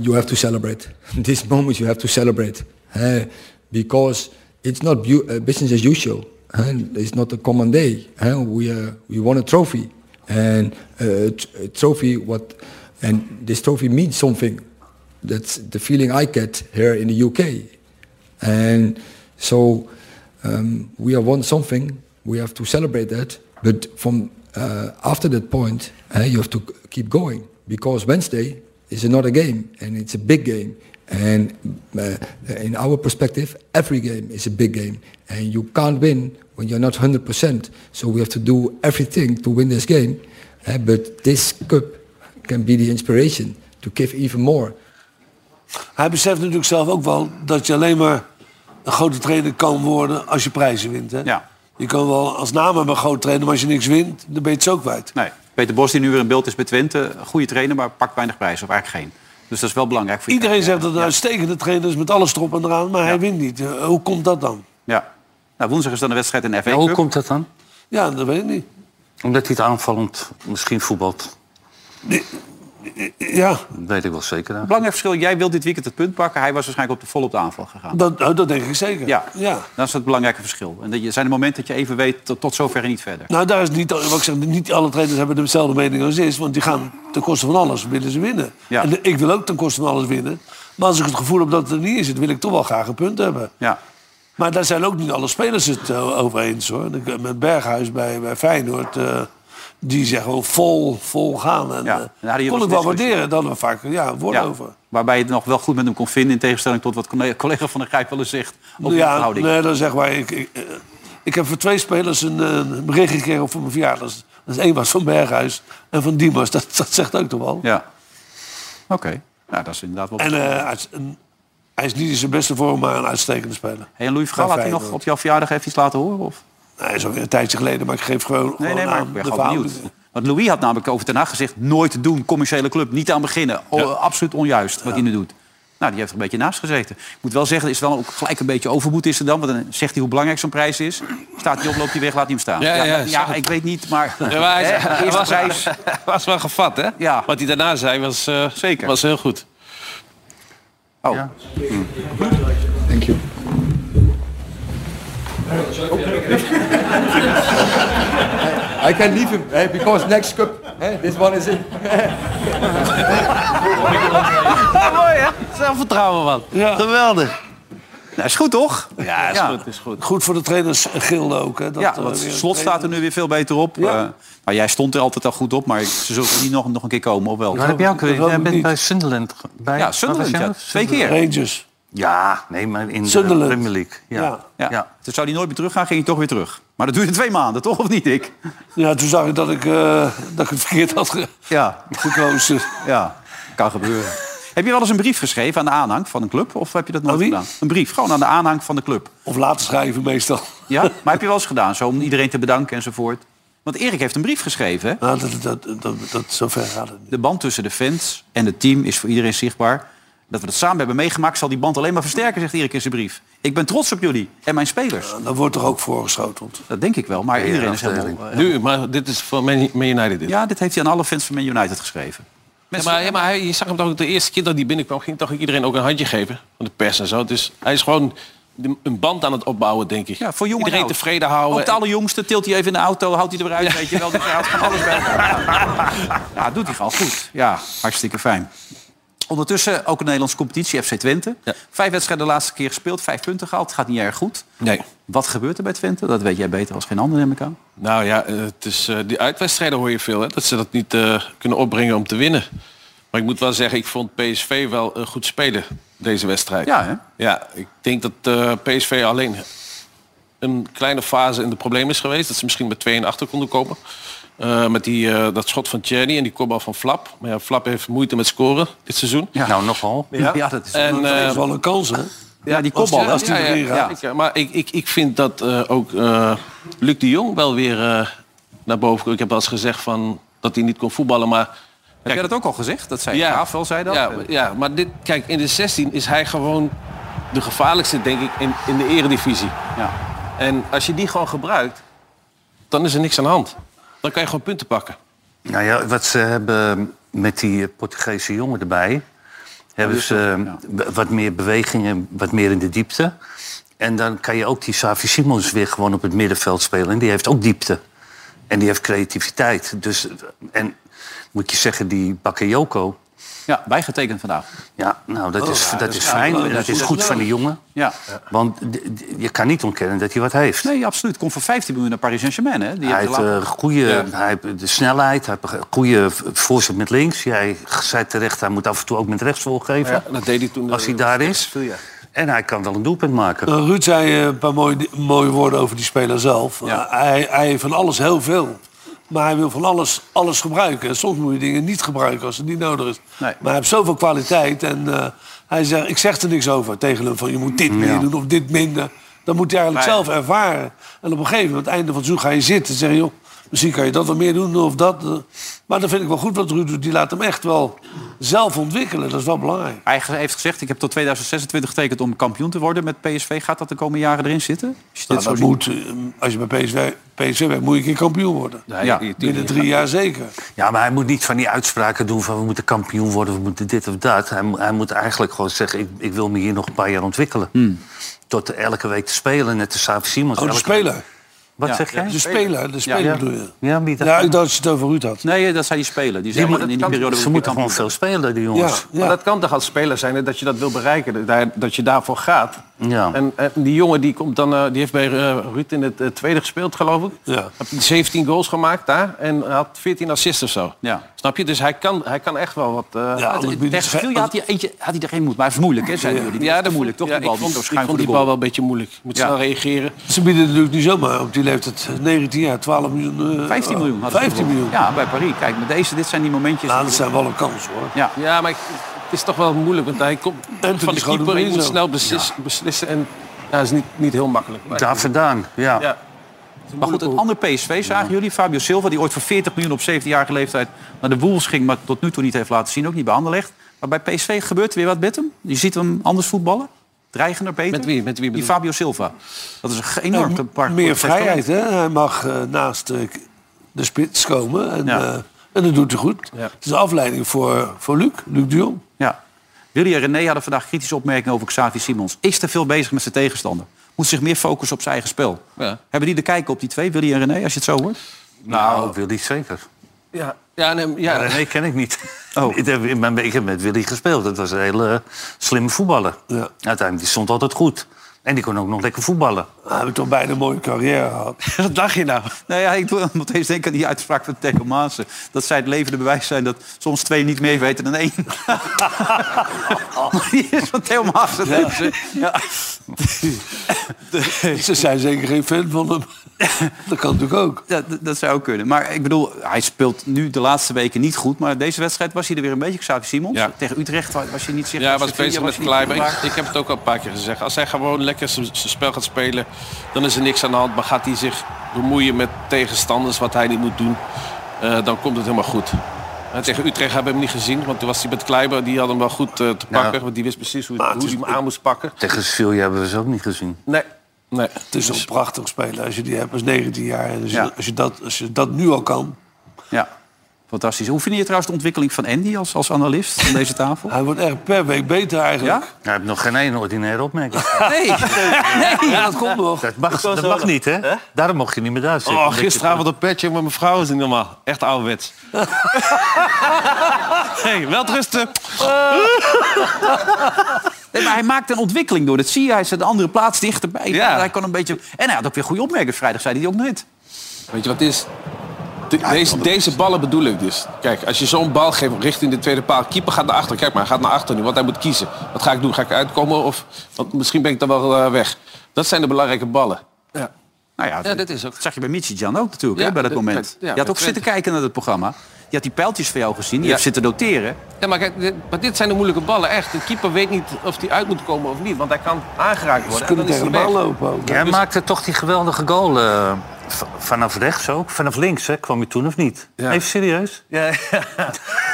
F: you have to celebrate. <laughs> This moment you have to celebrate eh, because it's not bu- uh, business as usual. And it's not a common day. eh. We uh, we won a trophy, and uh, a tr- a trophy what, and this trophy means something. That's the feeling I get here in the UK, and so um, we have won something. We have to celebrate that. But from uh, after that point, eh, you have to c- keep going because Wednesday is another game and it's a big game. And uh, in our perspective, every game is a big game, and you can't win when you're not 100%. So we have to do everything to win this game. eh, but this cup can be the inspiration to give even more.
D: Hij beseft natuurlijk zelf ook wel dat je alleen maar een grote trainer kan worden als je prijzen wint. Hè?
A: Ja.
D: Je kan wel als naam hebben een groot trainer, maar als je niks wint, dan ben je het zo kwijt.
A: Nee. Peter Bos, die nu weer in beeld is bij Twente. een Goede trainer, maar pakt weinig prijs. Of eigenlijk geen. Dus dat is wel belangrijk voor je
D: Iedereen
A: carrière.
D: zegt dat het een uitstekende trainer is met alles erop en eraan, maar hij wint niet. Eh, Hoe komt dat dan?
A: Ja. Nou, woensdag is dan de wedstrijd in de FA
C: Ja, hoe
A: Cup.
C: komt dat dan?
D: Ja, dat weet ik niet.
C: Omdat hij het aanvallend misschien voetbalt.
D: Ja,
C: Dat weet ik wel zeker. hè.
A: Belangrijk verschil. Jij wilt dit weekend het punt pakken. Hij was waarschijnlijk op de volop de aanval gegaan.
D: dat, oh, dat denk ik zeker.
A: Ja.
D: ja.
A: Dat is het belangrijke verschil. En dat je, zijn de momenten dat je even weet tot, tot zover en niet verder.
D: Nou, daar is niet, wat ik zeg, niet alle trainers hebben dezelfde mening als is, want die gaan ten koste van alles willen ze winnen.
A: Ja.
D: En ik wil ook ten koste van alles winnen. Maar als ik het gevoel heb dat het er niet in zit, wil ik toch wel graag een punt hebben.
A: Ja.
D: Maar daar zijn ook niet alle spelers het eh, over eens hoor. Ik- Met Berghuis bij, bij Feyenoord, eh, die zeggen gewoon vol, vol gaan.
A: Ja,
D: En,
A: Nou,
D: ja.
A: en daar hadden
D: kon
A: jullie
D: ik wel
A: discussie.
D: waarderen, dat we vaak ja, een woord
A: Ja,
D: over.
A: Waarbij je het nog wel goed met hem kon vinden... in tegenstelling tot wat collega- <laughs> collega Van der Grijp wel eens zegt... over de
D: ja,
A: verhouding.
D: nee, dat is echt waar. Ik, ik, eh, ik heb voor twee spelers een, eh, een bericht gekregen voor mijn verjaardag. Dat is- Dat is één was van Berghuis en van Dimas. Dat, dat zegt ook toch wel.
A: Ja. Oké. Nou, dat is inderdaad wel...
D: En eh, hij, is een- hij is niet in zijn beste vorm, maar een uitstekende speler.
A: Hey, en Louis Vergaal, had hij nog
D: Feyenoord.
A: op jouw verjaardag even iets laten horen? Of?
D: Hij is alweer een tijdje geleden, maar ik geef gewoon,
A: Nee,
D: gewoon
A: nee, maar
D: aan
A: ik ben
D: de
A: gewoon benieuwd.
D: verhoudingen.
A: Want Louis had namelijk over Ten Haag gezegd... nooit te doen, commerciële club, niet aan beginnen. O, eh, absoluut onjuist wat hij nu doet. Nou, die heeft er een beetje naast gezeten. Ik moet wel zeggen, er is wel ook gelijk een beetje overmoed is er dan. Want dan zegt hij hoe belangrijk zo'n prijs is. Staat hij op, loopt hij weg, laat hij hem staan.
B: Ja, ja, snap
A: ik weet niet, maar...
B: Ja, maar hij-
A: hè,
B: hij
A: eerste
B: was-
A: prijs.
B: <laughs> was wel gevat, hè?
A: Ja.
B: Wat hij daarna zei was, eh,
A: Zeker.
B: was heel goed.
A: Oh.
F: Thank you. I can leave him eh, because next cup, eh, this one is it.
A: mooi, hè? Zelfvertrouwen, man.
E: Geweldig.
A: Nou, is goed, toch?
B: Ja, is
A: Ja.
B: goed, is goed.
D: Goed voor de trainers Gilde ook. Hè, dat,
A: Ja,
D: eh,
A: want
D: weer een
A: slot staat er nu weer veel beter op.
D: Ja.
A: Eh, maar jij stond er altijd al goed op, maar ze zullen niet nog, nog een keer komen, of wel?
C: Waar heb jij ook weer?
D: dat
C: Jij
D: hoop ik
C: bent
D: niet.
C: bij Sunderland. ge- Bij,
A: Ja,
C: waar
A: Sunderland,
C: was jij
A: ja.
C: nog?
A: Twee keer.
D: trainer. Rangers.
C: Ja, nee, maar in
D: Sunderland.
C: de Premier League. Ja.
D: Ja.
A: Ja. Toen zou hij nooit meer teruggaan, ging hij toch weer terug. Maar dat duurde twee maanden, toch? Of niet, ik?
D: Ja, toen zag ik dat ik, eh, dat ik het verkeerd had ge-
A: Ja,
D: gekozen.
A: ja. Kan gebeuren. heb je wel eens een brief geschreven aan de aanhang van een club? Of heb je dat nooit
D: Aan wie?
A: gedaan? Een brief, gewoon aan de aanhang van de club.
D: Of laten schrijven meestal.
A: Ja? maar heb je wel eens gedaan, zo om iedereen te bedanken enzovoort? Want Erik heeft een brief geschreven, hè?
D: Nou, dat, dat, dat, dat, dat- zover gaat het niet.
A: De band tussen de fans en het team is voor iedereen zichtbaar. Dat we dat samen hebben meegemaakt zal die band alleen maar versterken, zegt Erik in zijn brief. Ik ben trots op jullie en mijn spelers.
D: Dan wordt toch ook voorgeschoteld.
A: Dat denk ik wel, maar iedereen is helemaal...
C: afdeling.
B: Nu, maar dit is voor Man Man United dit.
A: Ja, dit heeft hij aan alle fans van Man United geschreven.
B: Ja, maar, ja, maar hij, je zag hem toch ook de eerste keer dat hij binnenkwam, ging toch ook iedereen ook een handje geven van de pers en zo. Dus hij is gewoon de- een band aan het opbouwen, denk ik.
A: Ja, voor jong en
B: iedereen
A: oud.
B: tevreden houden.
A: Ook de allerjongste tilt hij even in de auto, houdt hij er weer uit, weet je wel. Dus hij houdt van alles bij elkaar.
B: <laughs>
A: Ja, doet hij gewoon goed. Ja, hartstikke fijn. Ondertussen ook een Nederlandse competitie, FC Twente.
B: Ja.
A: Vijf wedstrijden de laatste keer gespeeld, vijf punten gehaald. Gaat niet erg goed.
B: Nee.
A: Wat gebeurt er bij Twente? Dat weet jij beter als geen ander, neem ik aan.
B: Nou ja, eh, het is, eh, die uitwedstrijden hoor je veel, hè, dat ze dat niet eh, kunnen opbrengen om te winnen. Maar ik moet wel zeggen, ik vond PSV wel eh, goed spelen deze wedstrijd.
A: Ja, hè?
B: Ja, ik denk dat eh, PSV alleen een kleine fase in de probleem is geweest. Dat ze misschien met 2-1 achter konden komen. Eh, met die, eh, dat schot van Tjerni en die kopbal van Flap. Maar ja, Flap heeft moeite met scoren dit seizoen.
C: Nou, nogal.
A: Ja, dat is...
B: En,
D: Dat
B: eh,
D: is wel een kans, hè?
A: ja die kopbal.
D: als die
B: ja, ja,
D: erin
B: ja,
D: gaat.
B: zeker. Maar ik, ik, ik vind dat eh, ook eh, Luc de Jong wel weer eh, naar boven komt. Ik heb wel eens gezegd van, dat hij niet kon voetballen, maar...
A: Heb
B: Kijk,
A: jij dat ook al gezegd? Dat zei
B: Ja.
A: Graaf wel, zei dat?
B: Ja, ja, maar dit, kijk, in de 16 is hij gewoon de gevaarlijkste, denk ik, in, in de eredivisie.
A: Ja.
B: En als je die gewoon gebruikt, dan is er niks aan de hand. Dan kan je gewoon punten pakken.
C: Nou ja, wat ze hebben met die eh, Portugese jongen erbij... hebben ze eh, b- wat meer bewegingen, wat meer in de diepte. En dan kan je ook die Savi Simons weer gewoon op het middenveld spelen. En die heeft ook diepte. En die heeft creativiteit. Dus, eh, en moet je zeggen, die Bakayoko...
A: Ja, bijgetekend vandaag.
C: Ja, nou, dat is, dat is fijn.
D: dat
C: en dat
D: is
C: is
D: goed.
C: goed van die jongen.
A: Ja.
C: Want d- d- je kan niet ontkennen dat hij wat heeft.
A: Nee, absoluut. Komt voor 15 miljoen naar Paris Saint-Germain, hè? Die
C: Hij
A: heeft
C: heeft,
A: de laatste-
C: eh, goede, hij heeft de snelheid, hij heeft een goede v- voorzet met links. Jij zei terecht, hij moet af en toe ook met rechts volgeven.
B: Dat deed hij toen. eh,
C: als hij daar is. En hij kan wel een doelpunt maken.
D: Nou, Ruud zei eh, een paar mooie, mooie woorden over die speler zelf.
A: Ja.
D: Eh, Hij, hij heeft van alles heel veel. Maar hij wil van alles, alles gebruiken. En soms moet je dingen niet gebruiken als het niet nodig is.
A: Nee.
D: Maar hij heeft zoveel kwaliteit. En eh, hij zegt, ik zeg er niks over tegen hem. Van, je moet dit meer doen of dit minder. Dat moet hij eigenlijk
A: Nee.
D: zelf ervaren. En op een gegeven moment, aan het einde van het seizoen, ga je zitten. En zeg je, joh, misschien kan je dat wat meer doen of dat. eh. Maar dat vind ik wel goed wat Ruud doet. Die laat hem echt wel zelf ontwikkelen. Dat is wel belangrijk.
A: Hij ge- heeft gezegd, ik heb tot 2026 getekend om kampioen te worden met PSV. Gaat dat de komende jaren erin zitten? Als je dit
D: Nou,
A: zo
D: dat
A: ziet.
D: moet, eh, als je bij PSV, PSV bent, moet je een keer kampioen worden.
A: Ja.
D: Binnen drie jaar zeker. Oh,
C: Ja, maar hij moet niet van die uitspraken doen van we moeten kampioen worden, we moeten dit of dat. Hij, mo- hij moet eigenlijk gewoon zeggen, ik, ik wil me hier nog een paar jaar ontwikkelen. Tot elke week te spelen, net als Savi Simons.
D: Oh, de
C: Elke-
D: speler.
C: Wat
A: Ja.
C: zeg jij?
D: De speler, de speler
C: Ja.
D: bedoel je.
C: Ja, wie dat-
D: Ja, ik dacht dat je het over Ruud had.
A: Nee, eh, dat zijn die spelen. Die zijn
C: Die moet-
A: in die periode
C: ze moeten gewoon veel spelen, die
D: Ja,
C: jongens.
D: ja.
E: Maar dat kan toch als speler zijn hè, dat je dat wil bereiken. Daar, dat je daarvoor gaat.
C: Ja.
B: En, en die jongen die komt dan, eh, die heeft bij eh, Ruud in het eh, tweede gespeeld, geloof ik.
D: Ja.
B: Heeft 17 goals gemaakt daar en had 14 assists of zo.
A: Ja.
B: Snap je? Dus hij kan, hij kan echt wel wat.
D: Ja,
B: eh,
A: Ja,
D: anders ben je
A: tegen
D: niet ge-
A: Sevilla had hij, eentje, had hij er geen moed. Maar hij is moeilijk, hè? Zijn jullie? Ja, dat moeilijk, toch?
B: Ja,
A: die bal
B: ik vond,
A: die zo
B: ik
A: schuin
B: vond
A: voor de
B: die bal
A: goal.
B: wel een beetje moeilijk. Je moet
A: Ja.
B: snel reageren.
D: Ze bieden natuurlijk niet zomaar op die leeftijd. 19 jaar, 12 miljoen. eh,
A: 15 miljoen. hadden ze
D: 15 miljoen.
A: gewonnen. Ja, bij Paris. Kijk, met deze, dit zijn die momentjes.
D: Nou, dat zijn wel een kans hoor.
A: Ja.
B: Ja, maar ik- het is toch wel moeilijk. Want hij komt
D: Anthony
B: van de
D: is gewoon
B: keeper.
D: een
B: Je moet
D: bezem.
B: snel beslis- beslissen. En ja, dat is niet, niet heel makkelijk. Maar,
C: Daar vandaan, ja.
B: ja.
A: Maar goed, een ander PSV zagen jullie. Fabio Silva, die ooit voor 40 miljoen op 17-jarige leeftijd naar de Wolves ging... maar tot nu toe niet heeft laten zien, ook niet bij Anderlecht. Maar bij PSV gebeurt er weer wat met hem. Je ziet hem anders voetballen. Dreigender, beter.
B: Met wie? Met wie
A: Die
B: bedoel je? Oh,
A: Fabio Silva. Dat is een enorm
D: En
A: park.
D: meer vrijheid, hè? Hij mag eh, naast eh, de spits komen. En,
A: Ja.
D: eh, en dat doet hij goed. Het is een afleiding voor, voor Luc, Luc de Jong.
A: Ja. Willy en René hadden vandaag kritische opmerkingen over Xavi Simons. Is te veel bezig met zijn tegenstander. Moet zich meer focussen op zijn eigen spel.
B: Ja.
A: Hebben die de kijk op die twee, Willy en René, als je het zo hoort?
C: Nou, Willy zeker.
B: Ja, ja, nee, ja.
C: Ja, Ah, nee, ken ik niet.
A: Oh.
C: <laughs> Ik, heb, in mijn- ik heb met Willy gespeeld. Dat was een hele eh, slimme voetballer.
D: Ja.
C: Uiteindelijk, die stond altijd goed. En die kon ook nog lekker voetballen.
D: Hij heeft toch bijna een mooie carrière gehad.
A: <laughs> Wat dacht je nou? Nou ja, ik doe <laughs> nog eens denken aan die uitspraak van Theo Maassen. Dat zij het levende bewijs zijn dat soms twee niet meer weten dan één. <laughs> Maar die is van Theo Maassen. Ja.
D: Ze zijn zeker geen fan van hem. dat kan natuurlijk ook.
A: Ja, d- dat zou ook kunnen. Maar ik bedoel, hij speelt nu de laatste weken niet goed. Maar deze wedstrijd was hij er weer een beetje. Xavi Simons.
B: Ja.
A: Tegen Utrecht wa- was je niet zichtbaar.
B: Ja, hij was
A: Sevilla
B: bezig met
A: je niet
B: Kleiber. Ik,
A: zichtbaar.
B: ik heb het ook al een paar keer gezegd. Als hij gewoon lekker zijn zijn spel gaat spelen, dan is er niks aan de hand. Maar gaat hij zich bemoeien met tegenstanders, wat hij niet moet doen, eh, dan komt het helemaal goed. Eh, tegen Utrecht hebben we hem niet gezien, want toen was hij met Kleiber. Die had hem wel goed eh, te pakken, want die wist precies hoe, hoe hij hem aan moest pakken.
C: Tegen Sevilla hebben we ze ook niet gezien.
B: Nee, nee.
D: Het is een prachtig speler als je die hebt als 19 jaar. En als,
A: Ja.
D: je, als, je dat, als je dat nu al kan.
A: Ja, fantastisch. Hoe vind je trouwens de ontwikkeling van Andy als, als analist aan deze
B: <laughs>
A: tafel?
D: Hij wordt echt per week beter eigenlijk.
A: Ja?
C: Hij heeft nog geen ene ordinaire <laughs> opmerking.
A: Nee. <laughs> nee.
D: Ja, dat komt nog.
C: Dat mag, dat mag niet, hè? Daarom mocht je niet meer daar zitten.
B: Oh,
C: Omdat je-
B: gisteravond een petje met mijn vrouw is niet normaal. Echt ouderwets. hey, wel rusten.
A: Nee, maar hij maakt een ontwikkeling door. Dat zie je. Hij zit een andere plaats dichterbij.
B: Ja.
A: Hij kan een beetje... En hij had ook weer goede opmerkingen. Vrijdag zei hij die ook net.
B: Weet je wat het is? De- deze, deze ballen bedoel ik dus. Kijk, als je zo'n bal geeft richting de tweede paal. Keeper gaat naar achter. Kijk maar, hij gaat naar achter nu. Want hij moet kiezen. Wat ga ik doen? Ga ik uitkomen? Of want misschien ben ik dan wel eh, weg. Dat zijn de belangrijke ballen.
A: Nou ja, dat,
B: dat is ook-
A: zag je bij Mitchie Jan ook natuurlijk,
B: Ja,
A: hè, bij dat
B: dat-
A: moment.
B: dat- ja,
A: je had
B: bij
A: ook zitten
B: Twente.
A: kijken naar het programma. Je had die pijltjes voor jou gezien. Je
B: Ja.
A: hebt zitten noteren.
B: Ja, maar, kijk, dit, maar dit zijn de moeilijke ballen, echt. De keeper weet niet of hij uit moet komen of niet. Want hij kan aangeraakt worden.
D: Ze
B: en
D: kunnen
B: dan is
D: tegen
B: hij
D: de bal
B: weg.
D: lopen ook.
C: Jij maakte toch die geweldige goal eh, v- vanaf rechts ook? Vanaf links, hè? Kwam je toen of niet? Even serieus?
E: Ja,
C: <laughs>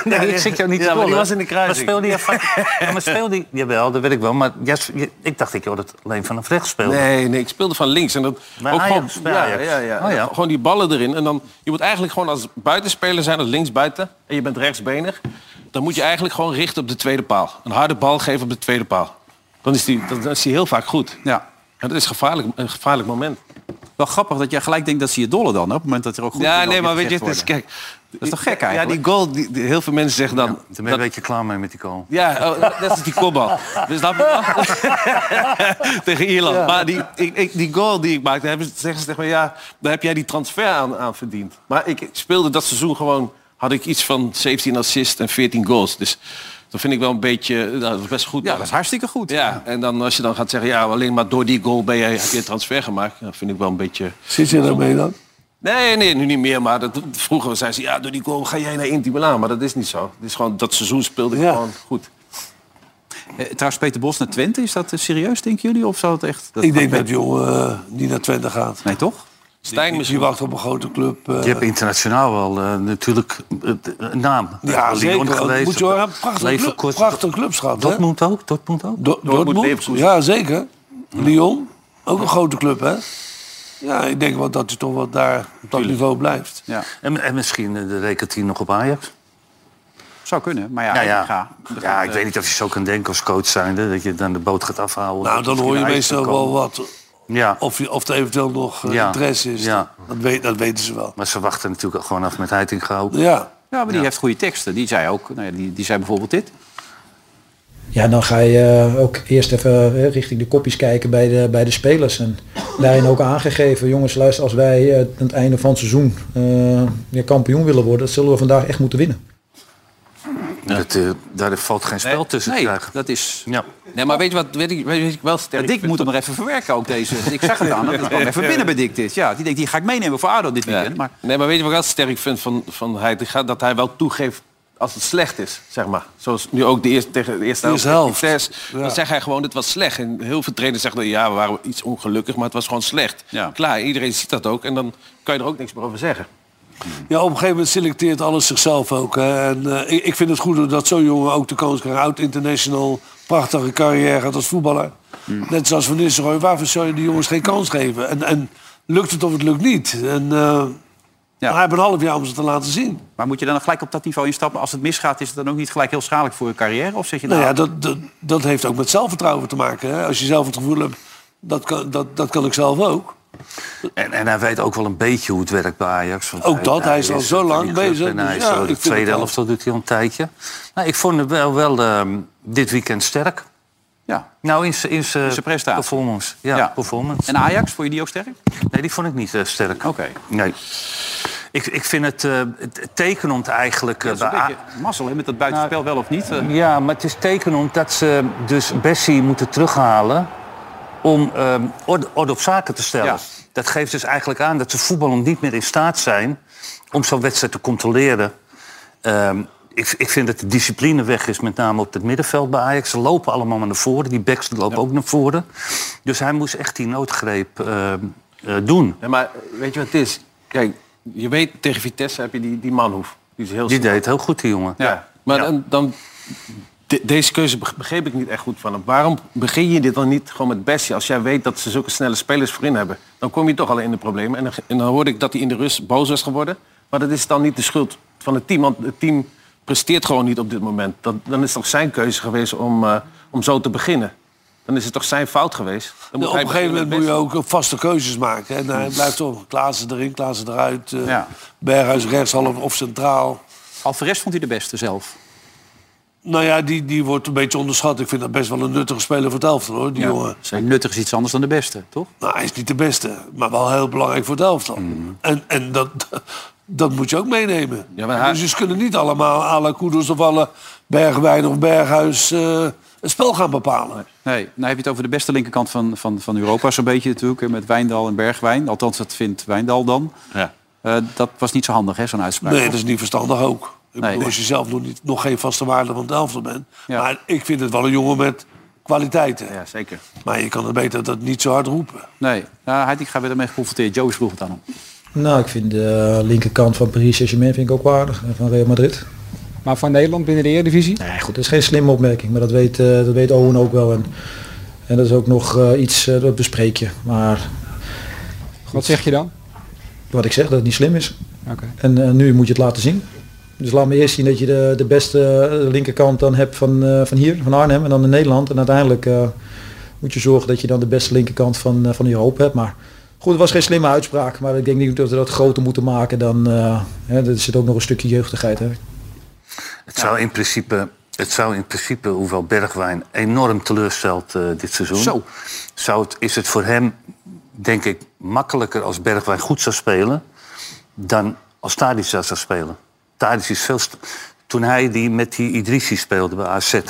C: Nee, ik zit jou niet te
E: Ja, maar die
C: rollen.
E: was in de kruising.
C: Maar speelde je vaak... <laughs> ja, maar speelde je... Jawel, dat weet ik wel. Maar jij s- je- ik dacht dat je altijd alleen vanaf rechts speelde.
B: Nee, nee, ik speelde van links. En dat
C: Bij
B: ook
C: Ajax,
B: gewoon,
C: bij
B: ja,
C: Ajax.
B: ja, ja.
C: Oh, ja.
B: Gewoon die ballen erin. En dan, je moet eigenlijk gewoon als buitenspeler zijn, als linksbuiten. En je bent rechtsbenig. Dan moet je eigenlijk gewoon richten op de tweede paal. Een harde bal geven op de tweede paal. Dan is die, dan, dan is die heel vaak goed.
A: Ja.
B: En dat is gevaarlijk, een gevaarlijk moment.
A: Wel grappig dat jij gelijk denkt dat ze je dollen dan. hè, Op het moment dat er ook goed
B: ja,
A: dingen
B: nee,
A: over
B: maar weet je, het
A: gezegd
B: is,
A: worden.
B: kijk... Dat
A: is toch gek eigenlijk?
B: Ja, die goal, die, die- heel veel mensen zeggen dan...
C: Toen ben je een beetje klaar mee met die goal.
B: Ja, oh, dat is die kopbal. Dus snap je wel? <laughs> tegen Ierland. Maar die, ik, ik, die goal die ik maakte, hebben ze, zeggen ze tegen mij... ja, daar heb jij die transfer aan, aan verdiend. Maar ik speelde dat seizoen gewoon... had ik iets van 17 assists en 14 goals. Dus dat vind ik wel een beetje... nou, dat is best goed.
A: Ja, dat is hartstikke goed.
B: Ja, en dan als je dan gaat zeggen... ja, alleen maar door die goal ben jij, heb je een transfer gemaakt. Dat vind ik wel een beetje...
D: Zit je daarmee dan?
B: Nee, nee, nu niet meer. Maar dat, vroeger zei ze... ja, door die goal ga jij naar Inter Milaan. Maar dat is niet zo. Het is gewoon, dat seizoen speelde ik
D: Ja.
B: gewoon goed.
A: Eh, trouwens, Peter Bos naar Twente, is dat eh, serieus, denken jullie? Of zou het echt... dat-
D: Ik denk dat die jongen eh, niet naar Twente gaat.
A: Nee, toch?
B: Stijn
D: Die
B: misschien
D: wacht op een grote club. eh,
C: Je hebt internationaal wel eh, natuurlijk eh, een naam. Eh,
D: ja,
C: Lyon
D: zeker. Dat Moet je horen, prachtige, club,
C: Leverkusen.
D: prachtige clubs gehad. hè?
C: Dortmund ook, Dortmund ook.
D: Do- Dortmund?
B: Leverkusen.
D: Ja, zeker. Lyon, ook een grote club, hè? Ja, ik denk wel dat hij toch wat daar op dat niveau blijft.
A: Ja,
C: En, en misschien eh, rekent hij nog op Ajax.
A: zou kunnen. Maar ja, eh,
C: Nou ja,
A: ik ga.
C: ja,
D: eh,
C: ik weet niet of je zo kan denken als coach zijnde... dat je dan de boot gaat afhouden.
D: Nou, dan hoor je
C: Misschien
D: meestal
C: naar Ajax
D: wel wat.
C: kan. Ja,
D: Of, je- of er eventueel nog eh,
C: Ja.
D: interesse is.
C: Ja.
D: Dat, weet, dat weten ze wel.
C: maar ze wachten natuurlijk gewoon af met Heitinga ook.
D: Ja.
A: Ja, maar die heeft goede teksten. Die zei ook, nou ja, die, die zei bijvoorbeeld dit.
G: ja, dan ga je eh, ook eerst even eh, richting de kopjes kijken bij de, bij de spelers. En daarin ook aangegeven, jongens, luister, als wij eh, aan het einde van het seizoen eh, weer kampioen willen worden, dat zullen we vandaag echt moeten winnen.
C: Dat, eh, daar valt geen spel tussen
A: nee,
C: te krijgen.
A: dat is...
C: Ja.
B: Nee, maar weet je wat weet ik, weet ik wel sterk
A: Ja, Dick moet hem er even verwerken ook deze. Ik zeg het aan, hem, dat kwam even binnen bij Dick dit. Ja, die denkt, die ga ik meenemen voor ADO dit
B: Ja.
A: weekend. Maar
B: Nee, maar weet je wat ik altijd sterk vind van, van hij? Die gaat- Dat hij wel toegeeft als het slecht is, zeg maar. Zoals nu ook de eerste, tegen de eerste
D: Eerste
B: helft.
D: helft.
B: Vitesse, Dan zegt hij gewoon, het was slecht. En heel veel trainers zeggen, ja, we waren iets ongelukkig, maar het was gewoon slecht.
A: Ja.
B: Klaar, iedereen ziet dat ook. En dan kan je er ook niks meer over zeggen.
D: Ja, op een gegeven moment selecteert alles zichzelf ook. hè. En eh, ik, ik vind het goed dat zo'n jongen ook de kans krijgt. Oud international, prachtige carrière gehad als voetballer. Net zoals Van Nistelrooy. Waarvoor zou je die jongens geen kans geven? En, en lukt het of het lukt niet? En eh
A: Ja.
D: hij heeft een half jaar om ze te laten zien.
A: Maar moet je dan gelijk op dat niveau instappen? Als het misgaat, is het dan ook niet gelijk heel schadelijk voor je carrière? Of zeg je nou,
D: Nou ja, dat, dat, dat heeft ook met zelfvertrouwen te maken. Hè? Als je zelf het gevoel hebt, dat kan, dat, dat kan ik zelf ook.
C: En, en hij weet ook wel een beetje hoe het werkt bij Ajax. want
D: Ook dat, hij is al zo
C: van die
D: lang
C: club
D: bezig,
C: En hij
D: dus
C: is
D: ja,
C: zo
D: ik
C: de
D: vind het
C: tweede
D: wel.
C: helft, dat doet hij al een tijdje. Nou, ik vond hem wel, wel ehm, dit weekend sterk.
A: ja.
C: Nou, in zijn in
A: zijn
C: zijn
A: prestatie.
C: performance. Ja,
A: Ja.
C: performance.
A: En Ajax, vond je die ook sterk?
C: Nee, die vond ik niet eh, sterk.
A: Oké.
C: Nee. Ik, ik vind het eh, het- het tekenend eigenlijk. eh,
A: Dat is een
C: bij A-
A: beetje mazzel hè, met dat buitenspel wel of niet. Eh,
C: ja, maar het is tekenend dat ze dus Bessie moeten terughalen om ehm orde, orde op zaken te stellen.
A: Ja.
C: Dat geeft dus eigenlijk aan dat ze voetballend niet meer in staat zijn om zo'n wedstrijd te controleren. Ehm, ik, ik vind dat de discipline weg is, met name op het middenveld bij Ajax. Ze lopen allemaal naar voren, die backs lopen ook naar voren. Dus hij moest echt die noodgreep ehm, eh, doen.
B: Nee, maar weet je wat het is? Kijk, je weet, tegen Vitesse heb je die, die manhoef. Die is heel
C: Die
B: snel.
C: deed het heel goed, die jongen.
B: Ja. Maar dan... dan de- deze keuze beg- begreep ik niet echt goed van hem. Waarom begin je dit dan niet gewoon met Bessie? Als jij weet dat ze zulke snelle spelers voorin hebben, dan kom je toch al in de problemen. En dan, en dan hoorde ik dat hij in de rust boos was geworden. Maar dat is dan niet de schuld van het team. Want het team presteert gewoon niet op dit moment. Dat, dan is het toch zijn keuze geweest om, eh, om zo te beginnen. Dan is het toch zijn fout geweest. Dan moet
D: op
B: hij
D: een gegeven
B: beginnen
D: moment
B: met
D: moet je
B: Bessie.
D: ook vaste keuzes maken. En hij blijft toch Klaassen erin, Klaassen eruit. eh,
A: Ja.
D: Berghuis rechtshalf of centraal.
A: Alvarez vond hij de beste zelf.
D: Nou ja, die, die wordt een beetje onderschat. Ik vind dat best wel een nuttige speler voor het elftal, hoor, die jongen.
A: Nuttig is iets anders dan de beste, toch?
D: Nou, hij is niet de beste, maar wel heel belangrijk voor het elftal. En, en dat, dat moet je ook meenemen.
B: Mhm. Ja, maar hij-
D: Dus ze kunnen niet allemaal à la Kudus of à la Bergwijn of Berghuis eh, het spel gaan bepalen.
A: Nee, nou heb je het over de beste linkerkant van, van, van Europa zo'n beetje natuurlijk. hè, Met Wijndal en Bergwijn. Althans, dat vindt Wijndal dan.
B: Ja.
A: Eh, dat was niet zo handig, hè, zo'n uitspraak.
D: Nee, dat is niet verstandig ook. Ik
A: Nee.
D: bedoel, als je zelf nog, niet, nog geen vaste waarde van het elftal bent.
A: Ja.
D: Maar ik vind het wel een jongen met kwaliteiten.
B: Ja, zeker.
D: Maar je kan het beter dat niet zo hard roepen.
A: Nee, nou, hij, ik ga weer ermee geconfronteerd. Joe vroeg het aan hem.
G: Nou, ik vind de uh, linkerkant van Paris Saint-Germain vind ik ook waardig. En van Real Madrid.
H: Maar voor Nederland binnen de Eredivisie?
G: Nee, goed, dat is geen slimme opmerking, maar dat weet, eh, dat weet Owen ook wel. En, en dat is ook nog eh, iets, eh, dat bespreek je. Maar
H: Wat zeg je dan?
G: wat ik zeg, dat het niet slim is.
H: Oké.
G: En eh, nu moet je het laten zien. Dus laat me eerst zien dat je de, de beste eh, linkerkant dan hebt van, eh, van hier, van Arnhem en dan in Nederland. En uiteindelijk eh, moet je zorgen dat je dan de beste linkerkant van, eh, van Europa hebt. Maar goed, het was geen slimme uitspraak. Maar ik denk niet dat we dat groter moeten maken dan... eh, hè, er zit ook nog een stukje jeugdigheid. Hè.
C: Het, zou in principe, het zou in principe, hoewel Bergwijn enorm teleurstelt eh, dit seizoen...
A: Zo.
C: Zou het, is het voor hem, denk ik, makkelijker als Bergwijn goed zou spelen... dan als Tadic dat zou spelen. Tadic is veel... st- Toen hij die met die Idrissi speelde bij AZ, hè,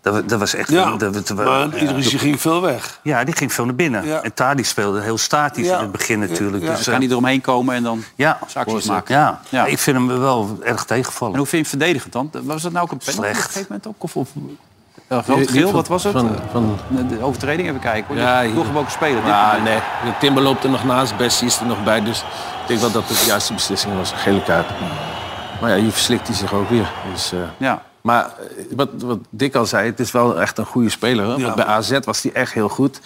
C: dat, wa- dat was echt...
D: Ja,
C: dat, dat-
D: maar iedereen ging veel weg.
C: ja, die ging veel naar binnen.
D: Ja.
C: En Tadic speelde heel statisch
D: Ja.
C: in het begin natuurlijk.
D: Ja.
C: Dus,
A: Kan
C: eh,
A: hij eromheen komen en dan
C: ja,
A: acties maken.
C: Ja.
A: Ja.
C: ik vind hem wel erg
A: En
C: tegenvallen.
A: hoe vind je hem verdedigend dan? Was dat nou ook een penalty op
C: Slecht.
A: een gegeven moment ook? Of, of eh, rood geel, wat was het?
B: Van, van,
A: Eh, de overtreding even kijken hoor.
B: Ja,
A: Ja,
B: hier-
A: doorgebroken speler. dit
B: Ja,
A: moment.
B: nee. De Timber loopt er nog naast, Bessie is er nog bij. Dus ik denk wel dat het de juiste beslissing was. Een gele kaart. Maar ja, hier verslikt hij zich ook weer. Dus, eh,
A: Ja.
B: Maar eh, wat, wat Dick al zei, het is wel echt een goede speler. Hè?
D: Ja.
B: Want Bij AZ was hij echt heel goed.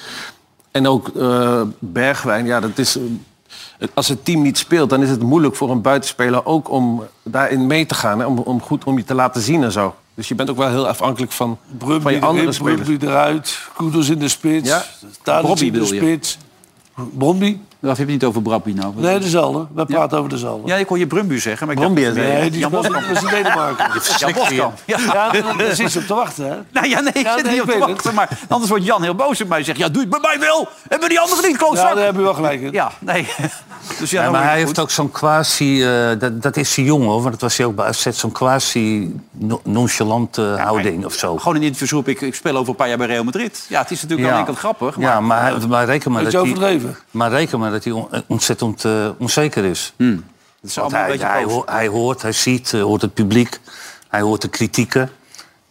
B: En ook eh, Bergwijn, ja, dat is... eh, Als het team niet speelt, dan is het moeilijk voor een buitenspeler ook om daarin mee te gaan. Hè? Om, om goed om je te laten zien en zo. Dus je bent ook wel heel afhankelijk van, van
D: Brumby
B: je andere
D: erin,
B: spelers.
D: Brumby eruit, Kudus in de spits,
B: Ja.
D: Tadic
A: Robbie
D: in de
A: bedoel je?
D: spits. Bromby?
A: Of heb je het niet over Brabby nou?
D: Nee, dezelfde. We praten over dezelfde.
A: Ja, ik hoor je Brumbu zeggen, maar ik
E: Brumby
A: dacht...
E: is-
D: Nee, die
A: Jan
D: speelt
A: Boskamp.
D: in Denemarken.
A: Jan Boskamp. Ja.
D: Ja, daar zit ze op te wachten, hè?
A: <laughs> Nou ja, nee, ik
D: Ja,
A: zit
D: nee,
A: niet
D: ik
A: op te
D: weet
A: wachten. Maar anders wordt Jan heel boos op mij en zegt... Ja, doe het bij mij wel. Hebben die anderen niet,
D: Ja,
A: klootzak?
D: daar
A: Ja,
D: heb je wel gelijk in.
A: nee. <laughs> Dus ja,
C: Ja,
A: dan
C: maar
A: wordt
C: hij
A: het
C: heeft
A: goed.
C: ook zo'n quasi, eh, dat, dat is die jongen hoor, want dat was hij ook bij AZ, zo'n quasi no- nonchalante houding of zo.
A: Gewoon een interview op, ik, ik speel over een paar jaar bij Real Madrid. Ja, het is natuurlijk aan de ene kant grappig. Maar eh,
C: ja, maar, hij- maar reken maar
D: Beetje
C: dat hij,
D: overdreven.
C: maar reken maar dat hij on- ontzettend eh, onzeker is.
A: het Hmm. is
C: Want
A: allemaal een
C: hij,
A: beetje
C: hij,
A: boos.
C: ho- hij hoort, hij ziet, eh, hoort het publiek, hij hoort de kritieken.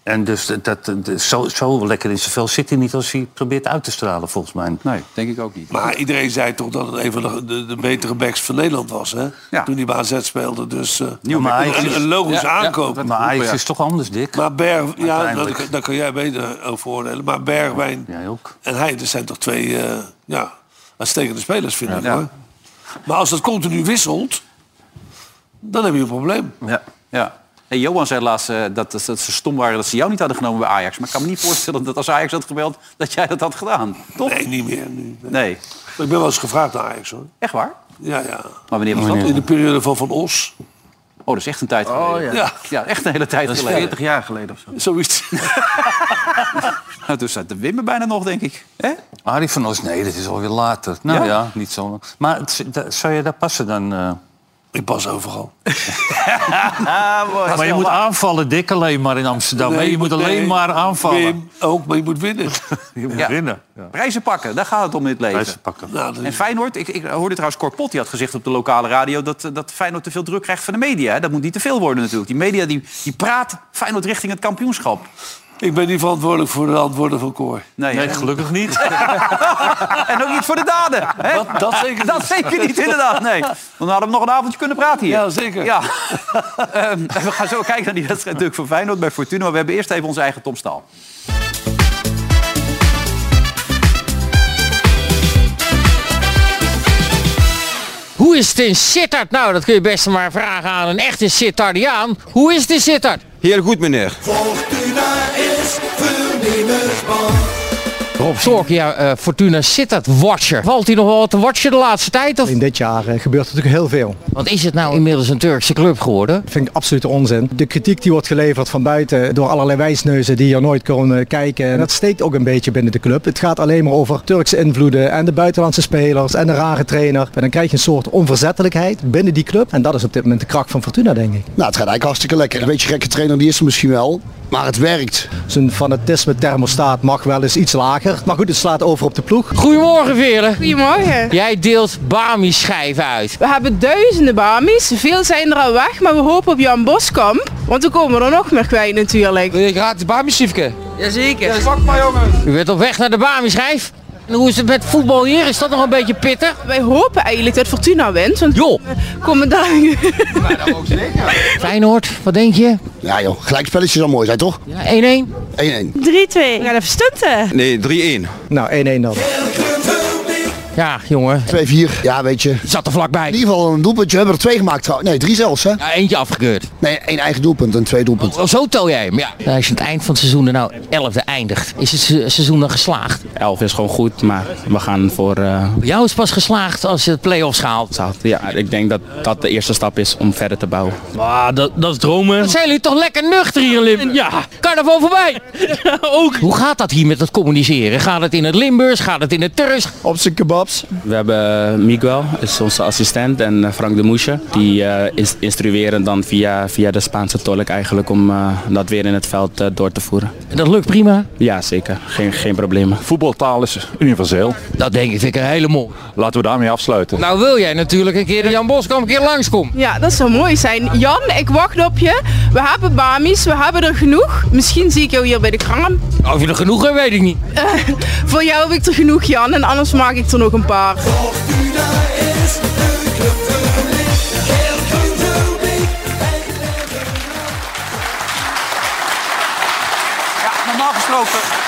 C: En dus dat, dat- dat- zo, zo lekker in zijn vel zit hij niet als hij probeert uit te stralen, volgens mij.
A: Nee, denk ik ook niet.
D: Maar iedereen zei toch dat het een van de, de, de betere backs van Nederland was, hè?
A: Ja.
D: Toen hij bij AZ speelde. Dus eh,
C: Ja, maar Ajax
D: een,
C: is,
D: een logische
B: Ja, ja.
D: aankoop.
C: maar Ajax is toch anders, Dick?
D: Maar Berg, ja,
C: Uiteindelijk.
D: daar, daar kan jij beter over oordelen. Maar Bergwijn
C: Jij ook.
D: en hij, dat zijn toch twee eh, ja, uitstekende spelers, vind ik.
A: Ja.
D: Hoor. Maar als dat continu wisselt, dan heb je een probleem.
A: Ja. ja. En Johan zei laatst eh, dat, dat, dat ze stom waren dat ze jou niet hadden genomen bij Ajax. Maar ik kan me niet voorstellen dat als Ajax had gebeld, dat jij dat had gedaan. Toch?
D: Nee, niet meer nu. Nee.
A: Nee.
D: Maar Ik ben wel eens gevraagd naar Ajax, hoor.
A: Echt waar?
D: Ja, ja.
A: Maar wanneer
C: Oh,
A: was dat?
D: In de periode van Van Os.
A: Oh, dat is echt een tijd geleden.
E: ja.
D: Ja,
A: Ja, echt een hele tijd geleden.
E: 40 jaar geleden of zo.
D: zoiets.
A: Nou, toen zat de Wimmer bijna nog, denk ik. Hè?
C: Arie van Os, nee, dat is alweer later. Nou
A: Ja?
C: ja, niet zo lang. Maar het- da- zou je daar passen dan? eh?
D: Ik pas overal.
C: Maar je moet aanvallen, Dick, alleen Nou, maar in Amsterdam. hè?
D: Nee,
C: je, moet alleen
D: nee,
C: maar aanvallen.
D: Wim, ook, maar je moet winnen.
C: Je moet
A: Ja.
C: winnen. Ja.
A: Prijzen pakken, daar gaat het om in het leven.
C: Prijzen pakken.
D: Nou, dat
A: En
D: is-
A: Feyenoord, ik, ik hoorde trouwens Corpot, die had gezegd op de lokale radio... dat, eh, dat Feyenoord te veel druk krijgt van de media. hè. Dat moet niet te veel worden natuurlijk. Die media die, die praat Feyenoord richting het kampioenschap.
D: ik ben niet verantwoordelijk voor de antwoorden van Koor.
A: Nee,
C: Nee,
A: hè.
C: gelukkig niet.
A: <laughs> en ook niet voor de daden. Hè?
D: Dat, dat zeker niet.
A: Dat zeker niet, inderdaad. Nee. Want dan hadden we nog een avondje kunnen praten hier.
D: Ja, zeker.
A: Ja. <laughs> Ehm, we gaan zo kijken naar die wedstrijd natuurlijk van Feyenoord bij Fortuna. Maar we hebben eerst even onze eigen Tom Staal.
I: Hoe is het in Sittard? Nou, dat kun je best maar vragen aan een echte Sittardiaan. Hoe is het in Sittard?
H: Heel goed, meneer.
I: Rob Zorkia, eh, Fortuna Sittard-watcher. Valt hij nog wel wat te watchen de laatste tijd? Of?
J: In dit jaar eh, gebeurt natuurlijk heel veel.
I: Wat is het nou inmiddels een Turkse club geworden?
J: Dat vind ik absolute onzin. De kritiek die wordt geleverd van buiten door allerlei wijsneuzen die hier nooit komen kijken. En dat steekt ook een beetje binnen de club. Het gaat alleen maar over Turkse invloeden en de buitenlandse spelers en de rare trainer. En dan krijg je een soort onverzettelijkheid binnen die club. En dat is op dit moment de kracht van Fortuna, denk ik.
K: Nou, het gaat eigenlijk hartstikke lekker. Een beetje gekke trainer, die is er misschien wel. Maar het werkt.
J: Zijn fanatisme thermostaat mag wel eens iets lager. Maar goed, het slaat over op de ploeg.
I: Goedemorgen, Veren.
L: Goedemorgen.
I: Jij deelt Bami-schijven uit.
L: We hebben duizenden bamies. Veel zijn er al weg, maar we hopen op Jan Boskamp. Want we komen er nog meer kwijt natuurlijk.
H: Wil je gratis Bami-Siefke?
L: Jazeker.
I: U bent op weg naar de Bami-schijf. En hoe is het met voetbal hier? Is dat nog een beetje pittig?
L: Wij hopen eigenlijk dat Fortuna wint, want
I: Joh,
L: we komen daar...
I: Feyenoord, wat denk je?
K: Ja joh, gelijkspelletje zou mooi zijn toch? 1-1.
I: Ja, 1-1.
K: 1-1.
L: 3-2. We gaan even stunten.
H: Nee, 3-1.
J: Nou, 1-1 dan.
I: Ja, jongen.
K: 2-4. Ja, weet je. In
I: Zat er vlakbij.
K: ieder geval een doelpuntje. We hebben er twee gemaakt trouwens. Nee, drie zelfs hè.
I: Ja, eentje afgekeurd.
K: Nee, één eigen doelpunt en twee doelpunten.
I: Oh, zo tel jij hem, ja. Nou, als je aan het eind van het seizoen er nou 11e eindigt, is het se- seizoen dan geslaagd?
J: 11 is gewoon goed, maar we gaan voor... eh,
I: Bij jou is het pas geslaagd als je de play-offs haalt.
J: ja, ik denk dat dat de eerste stap is om verder te bouwen.
I: Dan zijn jullie toch lekker nuchter hier in Limburg? Ja. Carnaval voorbij. Ook. Hoe gaat dat hier met dat communiceren? Gaat het in het Limburgs? Gaat het in het Turks?
J: Op zijn kebabs. We hebben eh, Miguel, is onze assistent, en eh, Frank de Moesje. Die eh, ins- instrueren dan via, via de Spaanse tolk eigenlijk om eh, dat weer in het veld eh, door te voeren.
I: En dat lukt prima.
J: Ja, zeker. Geen, geen problemen.
M: Voetbaltaal is universeel.
I: Dat denk ik, vind ik een hele mol.
M: Laten we daarmee afsluiten.
I: Nou wil jij natuurlijk een keer dat Jan Boskamp een keer langskomt.
L: Ja, dat zou mooi zijn. Jan, ik wacht op je. We hebben bamies, we hebben er genoeg. Misschien zie ik jou hier bij de kraam.
I: Of je er genoeg hebt, weet ik niet.
L: Voor jou heb ik er genoeg, Jan. En anders maak ik er nog een paar.
A: Ja, normaal gesproken...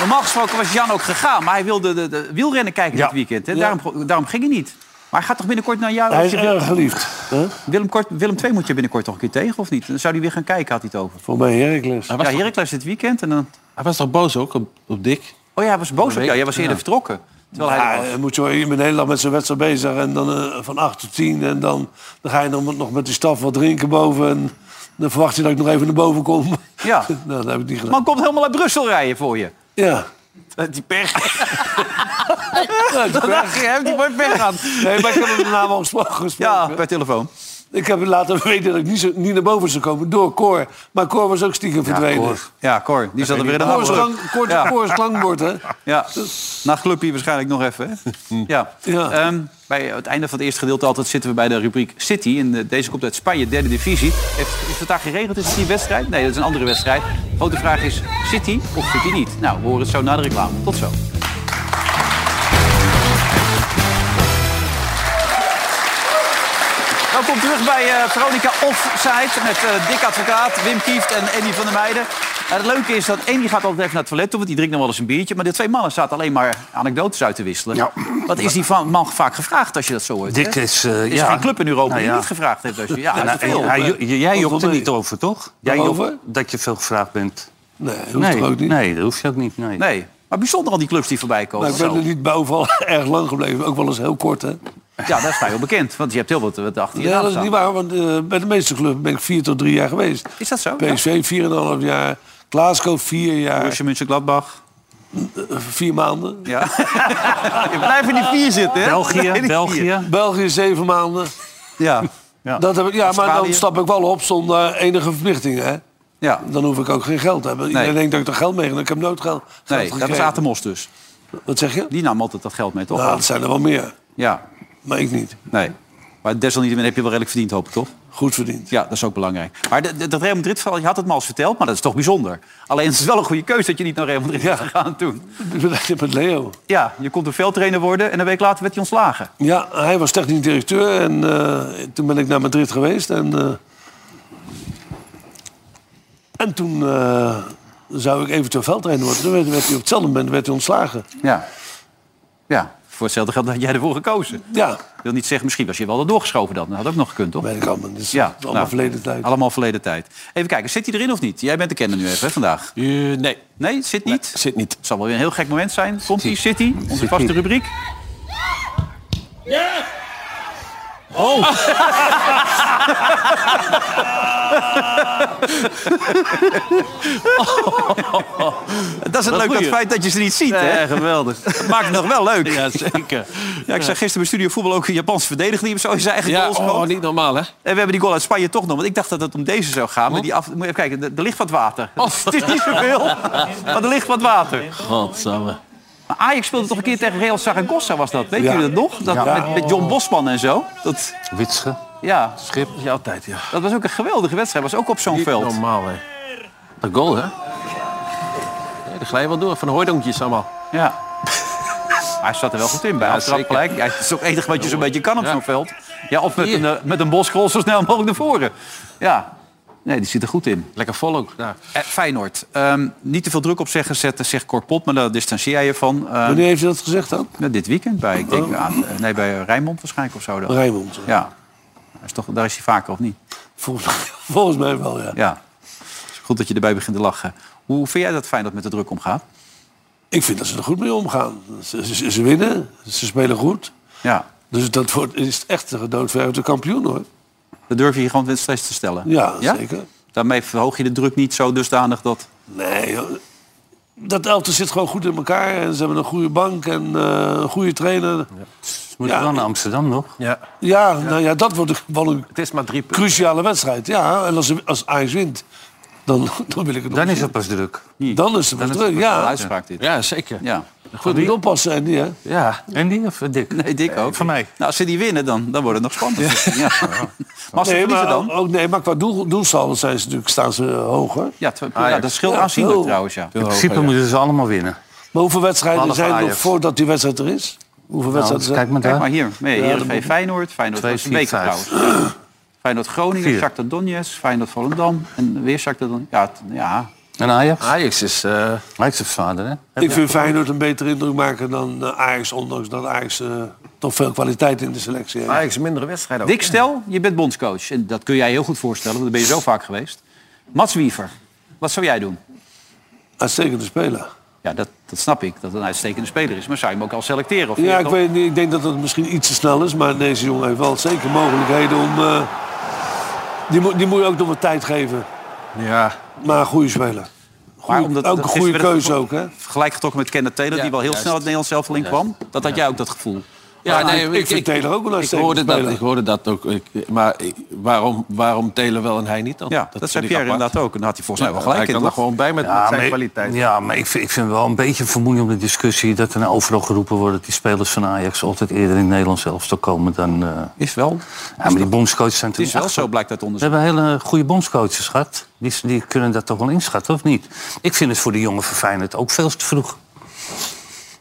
A: Normaal gesproken was Jan ook gegaan, maar hij wilde de, de wielrennen kijken
D: Ja.
A: dit weekend. Hè? Daarom, daarom ging hij niet. Maar hij gaat toch binnenkort naar jou?
D: Hij is eh, erg geliefd. Hè?
A: Willem, kort, Willem II moet je binnenkort toch een keer tegen, of niet? Dan zou hij weer gaan kijken, had hij het over.
D: Voor mij Heracles.
A: Ja, Heracles dit weekend en dan...
B: Hij was toch boos ook op, op Dick?
A: Oh ja, hij was boos op
B: weet
A: jou. Jij
B: ik,
A: was eerder
B: ja.
A: vertrokken. Terwijl hij er
D: Ja,
A: was.
D: dan moet je wel in Nederland met zijn wedstrijd bezig. En dan eh, van 8 tot 10. En dan, dan ga je dan nog met die staf wat drinken boven. En dan verwacht je dat ik nog even naar boven kom.
A: Ja.
D: <laughs> nou, dat heb ik niet gedaan.
A: Man komt helemaal uit Brussel rijden voor je. Eh,
D: Ja.
A: Die
D: <laughs>
A: pech. Dat dacht je, hè? Die wordt pech aan.
D: Nee, maar ik heb hem daarna wel gesproken. gesproken.
A: Ja, per telefoon.
D: Ik heb laten weten dat ik niet, zo, niet naar boven zou komen door Cor. Maar Cor was ook stiekem verdwenen.
A: Ja, Cor. Die zat er weer in de
D: Cor is
A: hap.
D: klank- Cor-
A: Ja.
D: Cor is klankbord, hè?
A: Ja, na Clubpie waarschijnlijk nog even.
D: <laughs>
A: Hè? Ja. Ehm, bij het einde van het eerste gedeelte altijd zitten we bij de rubriek City. En eh, deze komt uit Spanje, derde divisie. Heeft, is het daar geregeld? Is het die wedstrijd? Nee, dat is een andere wedstrijd. Grote vraag is City of City niet? Nou, we horen het zo na de reclame. Tot zo. Welkom terug bij eh, Veronica Offside met eh Dick Advocaat, Wim Kieft en Andy van der Meijden. En het leuke is dat Andy gaat altijd even naar het toilet toe, want die drinkt nog wel eens een biertje. Maar de twee mannen zaten alleen maar anekdotes uit te wisselen. Wat is die van, man vaak gevraagd als je dat zo hoort?
C: Dick
A: hè?
C: is, eh,
A: Er is
C: ja.
A: geen club in Europa
C: Nou
A: die
C: ja.
A: niet gevraagd heeft. Als je, ja,
C: Nou,
A: dat is veel.
C: hij- hij- j- jij jokt er
A: Hoeveel-
C: niet over, toch? Jij jokt
A: Waarover?
C: dat je veel gevraagd bent.
D: Nee, dat
A: hoeft toch ook niet?
C: Nee, dat hoef je ook niet. Nee.
A: Nee, maar bijzonder al die clubs die voorbij komen.
D: Maar Nou,
C: Nou,
D: ik ben
A: Zo.
D: er niet bij overal <laughs> erg lang gebleven. Ook wel eens heel kort, hè?
A: Ja, dat is vrij wel bekend, want je hebt heel wat, wat achter je
D: Ja,
A: naam
D: dat is
A: staan.
D: niet waar, want eh, bij de meeste clubs ben ik vier tot drie jaar geweest.
A: Is dat zo?
D: PSV 4,5 jaar, Glasgow vier jaar,
A: Borussia Mönchengladbach.
D: eh, vier maanden.
A: Ja. <laughs> je blijft in die vier zitten, hè?
C: België,
A: Nee, die vier.
C: België.
D: België zeven maanden.
A: Ja. ja.
D: Dat heb ik, ja, maar
A: Australië.
D: dan stap ik wel op zonder enige verplichtingen, hè?
A: Ja.
D: Dan hoef ik ook geen geld te hebben.
A: Nee.
D: Iedereen denkt dat ik er geld mee heb. Ik heb nooit geld, geld
A: Nee, dat was
D: gekregen.
A: Atemos dus.
D: Wat zeg je?
A: Die nam altijd dat geld mee, toch?
D: Nou, dat zijn er wel meer.
A: Ja,
D: Maar ik niet.
A: nee. Maar desalniettemin heb je wel redelijk verdiend, hoop ik, toch?
D: Goed verdiend.
A: Ja, dat is ook belangrijk. Maar de- de- dat Real Madrid verhaal, je had het me al eens verteld, maar dat is toch bijzonder. Alleen het is wel een goede keuze dat je niet naar Real Madrid is gegaan toen.
D: <laughs> Met Leo.
A: Ja, je kon een veldtrainer worden en een week later werd je ontslagen.
D: Ja, hij was technisch directeur en eh, toen ben ik naar Madrid geweest. En, eh, en toen eh, zou ik eventueel veldtrainer worden. Toen werd, werd hij op hetzelfde moment werd hij ontslagen.
A: Ja. Ja, voor hetzelfde geld had jij ervoor gekozen.
D: Ja.
A: Ik wil niet zeggen, misschien was je wel er doorgeschoven dan. Dat had ook nog gekund, toch?
D: Weet ik allemaal. Dus
A: Ja,
D: het is allemaal
A: nou,
D: verleden tijd.
A: Allemaal verleden tijd. Even kijken, zit hij erin of niet? Jij bent de kenner nu even hè, vandaag.
B: nee.
A: Eh, Nee, zit niet?
B: zit niet.
A: Het zal wel weer een heel gek moment zijn. Komt hij, zit hij? Onze vaste rubriek. <laughs> Oh! Dat is het
B: Wat
A: leuke
B: goeie.
A: feit dat je ze niet ziet, hè?
B: Ja, geweldig.
A: Dat maakt <laughs> het nog wel leuk.
B: Ja, zeker.
A: Ja, ik zag gisteren bij Studio Voetbal ook een Japanse verdediger... die hem zo in zijn eigen
B: Ja,
A: goal schoot.
B: oh, niet normaal, hè?
A: En we hebben die goal uit Spanje toch nog. Want ik dacht dat het om deze zou gaan. Maar die af, moet je even kijken, er- er ligt wat water.
B: Oh.
A: <laughs> Het is niet zoveel, maar er ligt wat water.
B: Godsamme.
A: Maar Ajax speelde toch een keer tegen Real Zaragoza, was dat? Weet
C: Ja.
A: jullie dat nog? Dat,
C: Ja.
A: met, met John Bosman en zo. Dat,
C: Witsche.
A: ja,
B: Schip is altijd, ja.
A: dat was ook een geweldige wedstrijd. was ook op zo'n
B: Niet
A: veld.
B: normaal, hè. De goal, hè? Nee, daar glij je wel door. Van hooidonkjes allemaal.
A: Ja. Maar hij zat er wel goed in bij.
B: Ja,
A: Hij trap
B: zeker.
A: gelijk. Ja, het is toch enig wat je zo'n beetje kan op
B: Ja.
A: zo'n veld. Ja, of met een, eh, met een boskrol zo snel mogelijk naar voren. Ja. Nee, die zit er goed in.
B: Lekker vol ook. Ja.
A: Eh, Feyenoord, ehm, niet te veel druk op zeggen zetten, zegt Cor Pot, maar daar distancieer je van. Ehm,
D: Wanneer heeft hij dat gezegd dan?
A: nou, dit weekend bij, ik denk, aan, eh, nee, bij Rijnmond waarschijnlijk of zo. Dan.
D: Rijmond.
A: Ja, Hij is toch, daar is hij vaker of niet?
D: Volgens mij, <laughs> volgens mij wel, ja.
A: Ja, Het is goed dat je erbij begint te lachen. Hoe vind jij dat Feyenoord met de druk omgaat?
D: Ik vind dat ze er goed mee omgaan. Ze, ze, ze winnen, ze spelen goed.
A: Ja,
D: Dus dat wordt, is echt een gedoodverfde kampioen, hoor.
A: dat durf je hier gewoon wedstrijd te stellen.
D: Ja, zeker.
A: Daarmee verhoog je de druk niet zo dusdanig dat...
D: Nee, joh. dat elftal zit gewoon goed in elkaar. En ze hebben een goede bank en eh, een goede trainer.
C: Ze moeten
D: Ja.
C: wel naar Amsterdam nog.
B: ja.
D: Ja, nou ja, dat wordt wel een
B: Het is maar drie punten.
D: cruciale wedstrijd. Ja, en als, als Ajax wint, dan, <laughs> dan wil ik het nog
C: Dan is
D: zien.
C: het pas druk.
D: Dan is het wel druk,
A: Een
D: ja.
A: uitspraak dit.
B: Ja, zeker.
A: Ja.
D: Goed, niet oppassen en die, hè.
B: Ja.
C: En die of eh, Dick?
A: Nee, Dick ook. Van mij. Nou, als ze die winnen, dan, dan wordt het nog spannend. <laughs> Ja. Maar als ze
D: Nee,
A: verliezen
D: maar,
A: dan...
D: ook, nee, maar qua doel, doelsaldo zijn ze natuurlijk, staan ze eh, hoger.
A: Ja, tw- Ah, ja, dat scheelt
D: Ja,
A: aanzienlijk
D: heel-
A: trouwens, ja.
C: In principe moeten ze allemaal winnen.
D: Maar hoeveel wedstrijden
C: Alle
D: zijn er nog
C: Ajax.
D: voordat die wedstrijd er is? Hoeveel
C: Nou,
D: wedstrijden
C: dus kijk maar
A: Kijk maar
C: daar.
A: hier. Nee,
D: Ja,
A: Heerenveen Feyenoord, Feyenoord
C: Twee,
A: was een
C: vier,
A: beker
C: vijf.
A: trouwens. Feyenoord Groningen,
C: Vier.
A: Shakhtar Donetsk, Feyenoord Volendam en weer Shakhtar Donetsk. Ja, het- ja.
C: En Ajax?
B: Ajax is... eh,
C: Ajax is vader, hè?
D: Ik vind Feyenoord een betere indruk maken dan eh, Ajax, ondanks dat Ajax eh, toch veel kwaliteit in de selectie heeft.
B: Ajax een mindere wedstrijd ook.
A: Dick, stel, je bent bondscoach. En dat kun jij heel goed voorstellen, want daar ben je zo vaak geweest. Mats Wiever, wat zou jij doen?
D: Uitstekende speler.
A: Ja, dat, dat snap ik, dat het een uitstekende speler is. Maar zou je hem ook al selecteren? Of
D: Ja,
A: vind
D: ik,
A: je
D: weet, niet, ik denk dat dat misschien iets te snel is. Maar deze jongen heeft wel zeker mogelijkheden om... eh, die, moet, die moet je ook nog wat tijd geven.
A: Ja.
D: Maar een goede speler.
A: Maar
D: Goed,
A: omdat-
D: ook
A: dat
D: een
A: is
D: goede
A: weer het
D: keuze
A: gevo-
D: ook, hè?
A: Gelijk getrokken met Kenneth Taylor, die wel heel snel het Nederlands zelf in kwam. Dat had jij ook dat gevoel.
B: Ja, nee,
D: Taylor ook wel een
B: ik
D: uitstekende
B: hoorde dat,
D: speler.
B: Ik hoorde dat ook. Ik- maar ik- waarom, waarom Taylor wel en hij niet dan?
A: Ja, dat zei
B: vind ik
A: Pierre
B: apart.
A: inderdaad ook. Nou, En daar had hij volgens mij wel
B: Ja,
A: gelijk
B: hij
A: in.
B: kan er
A: toch?
B: gewoon bij met, met zijn kwaliteit.
C: Ja, maar ik vind, ik vind wel een beetje vermoeiend om de discussie... dat er nou overal geroepen wordt dat die spelers van Ajax... altijd eerder in Nederland zelfs komen dan... eh,
A: is wel.
C: Ja, maar die bondscoaches zijn
A: Het is wel
C: achter-
A: zo, blijkt uit
C: We
A: onderzoek.
C: hebben hele goede bondscoaches gehad. Die, die kunnen dat toch wel inschatten, of niet? Ik vind het voor de jongen van Feyenoord ook veel te vroeg.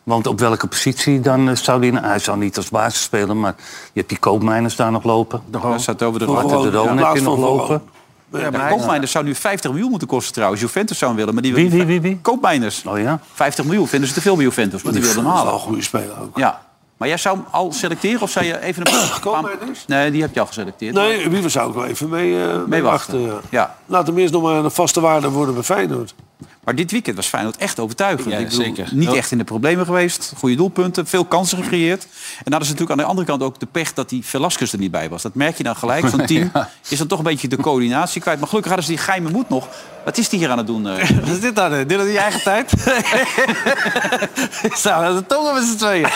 C: Want op welke positie dan eh, zou die... nou, hij zou niet als basis spelen, maar je hebt die koopmijners daar nog lopen. De
A: Daar staat over de
C: Roon.
A: Roon.
C: De
A: Ja,
C: Roon heb
A: plaats
C: je nog
A: van Roon.
C: lopen.
A: Ja, maar Koopmijners zou nu 50 miljoen moeten kosten trouwens. Juventus zou hem willen. Maar die
C: Wie,
A: wie, wie? Koopmijners.
C: Oh ja?
A: 50 miljoen vinden ze te veel bij Juventus. Maar die
D: Die
A: wilden hem
D: is wel
A: halen.
D: een goede speler ook.
A: Ja. Maar jij zou hem al selecteren of zou je
B: <coughs>
A: even een
D: Koopmijners?
A: Nee, die heb je al geselecteerd.
D: Nee, wie zou ik wel even mee, eh, mee wachten. ja.
A: Ja.
D: Laat hem eerst nog maar een vaste waarde worden bij Feyenoord.
A: Maar dit weekend was Feyenoord echt overtuigend.
D: Ja,
A: Ik bedoel,
D: zeker.
A: Niet
D: Ja.
A: echt in de problemen geweest. Goede doelpunten, veel kansen gecreëerd. En dan is natuurlijk aan de andere kant ook de pech dat die Velasquez er niet bij was. Dat merk je dan gelijk.
N: <laughs>
A: Zo'n team is dan toch een beetje de coördinatie kwijt. Maar gelukkig hadden ze die geheime moed nog. Wat is die hier aan het doen? eh?
N: <laughs> Wat is dit dan? Dit is je eigen
A: <laughs>
N: tijd? Staan aan de tongen met z'n tweeën.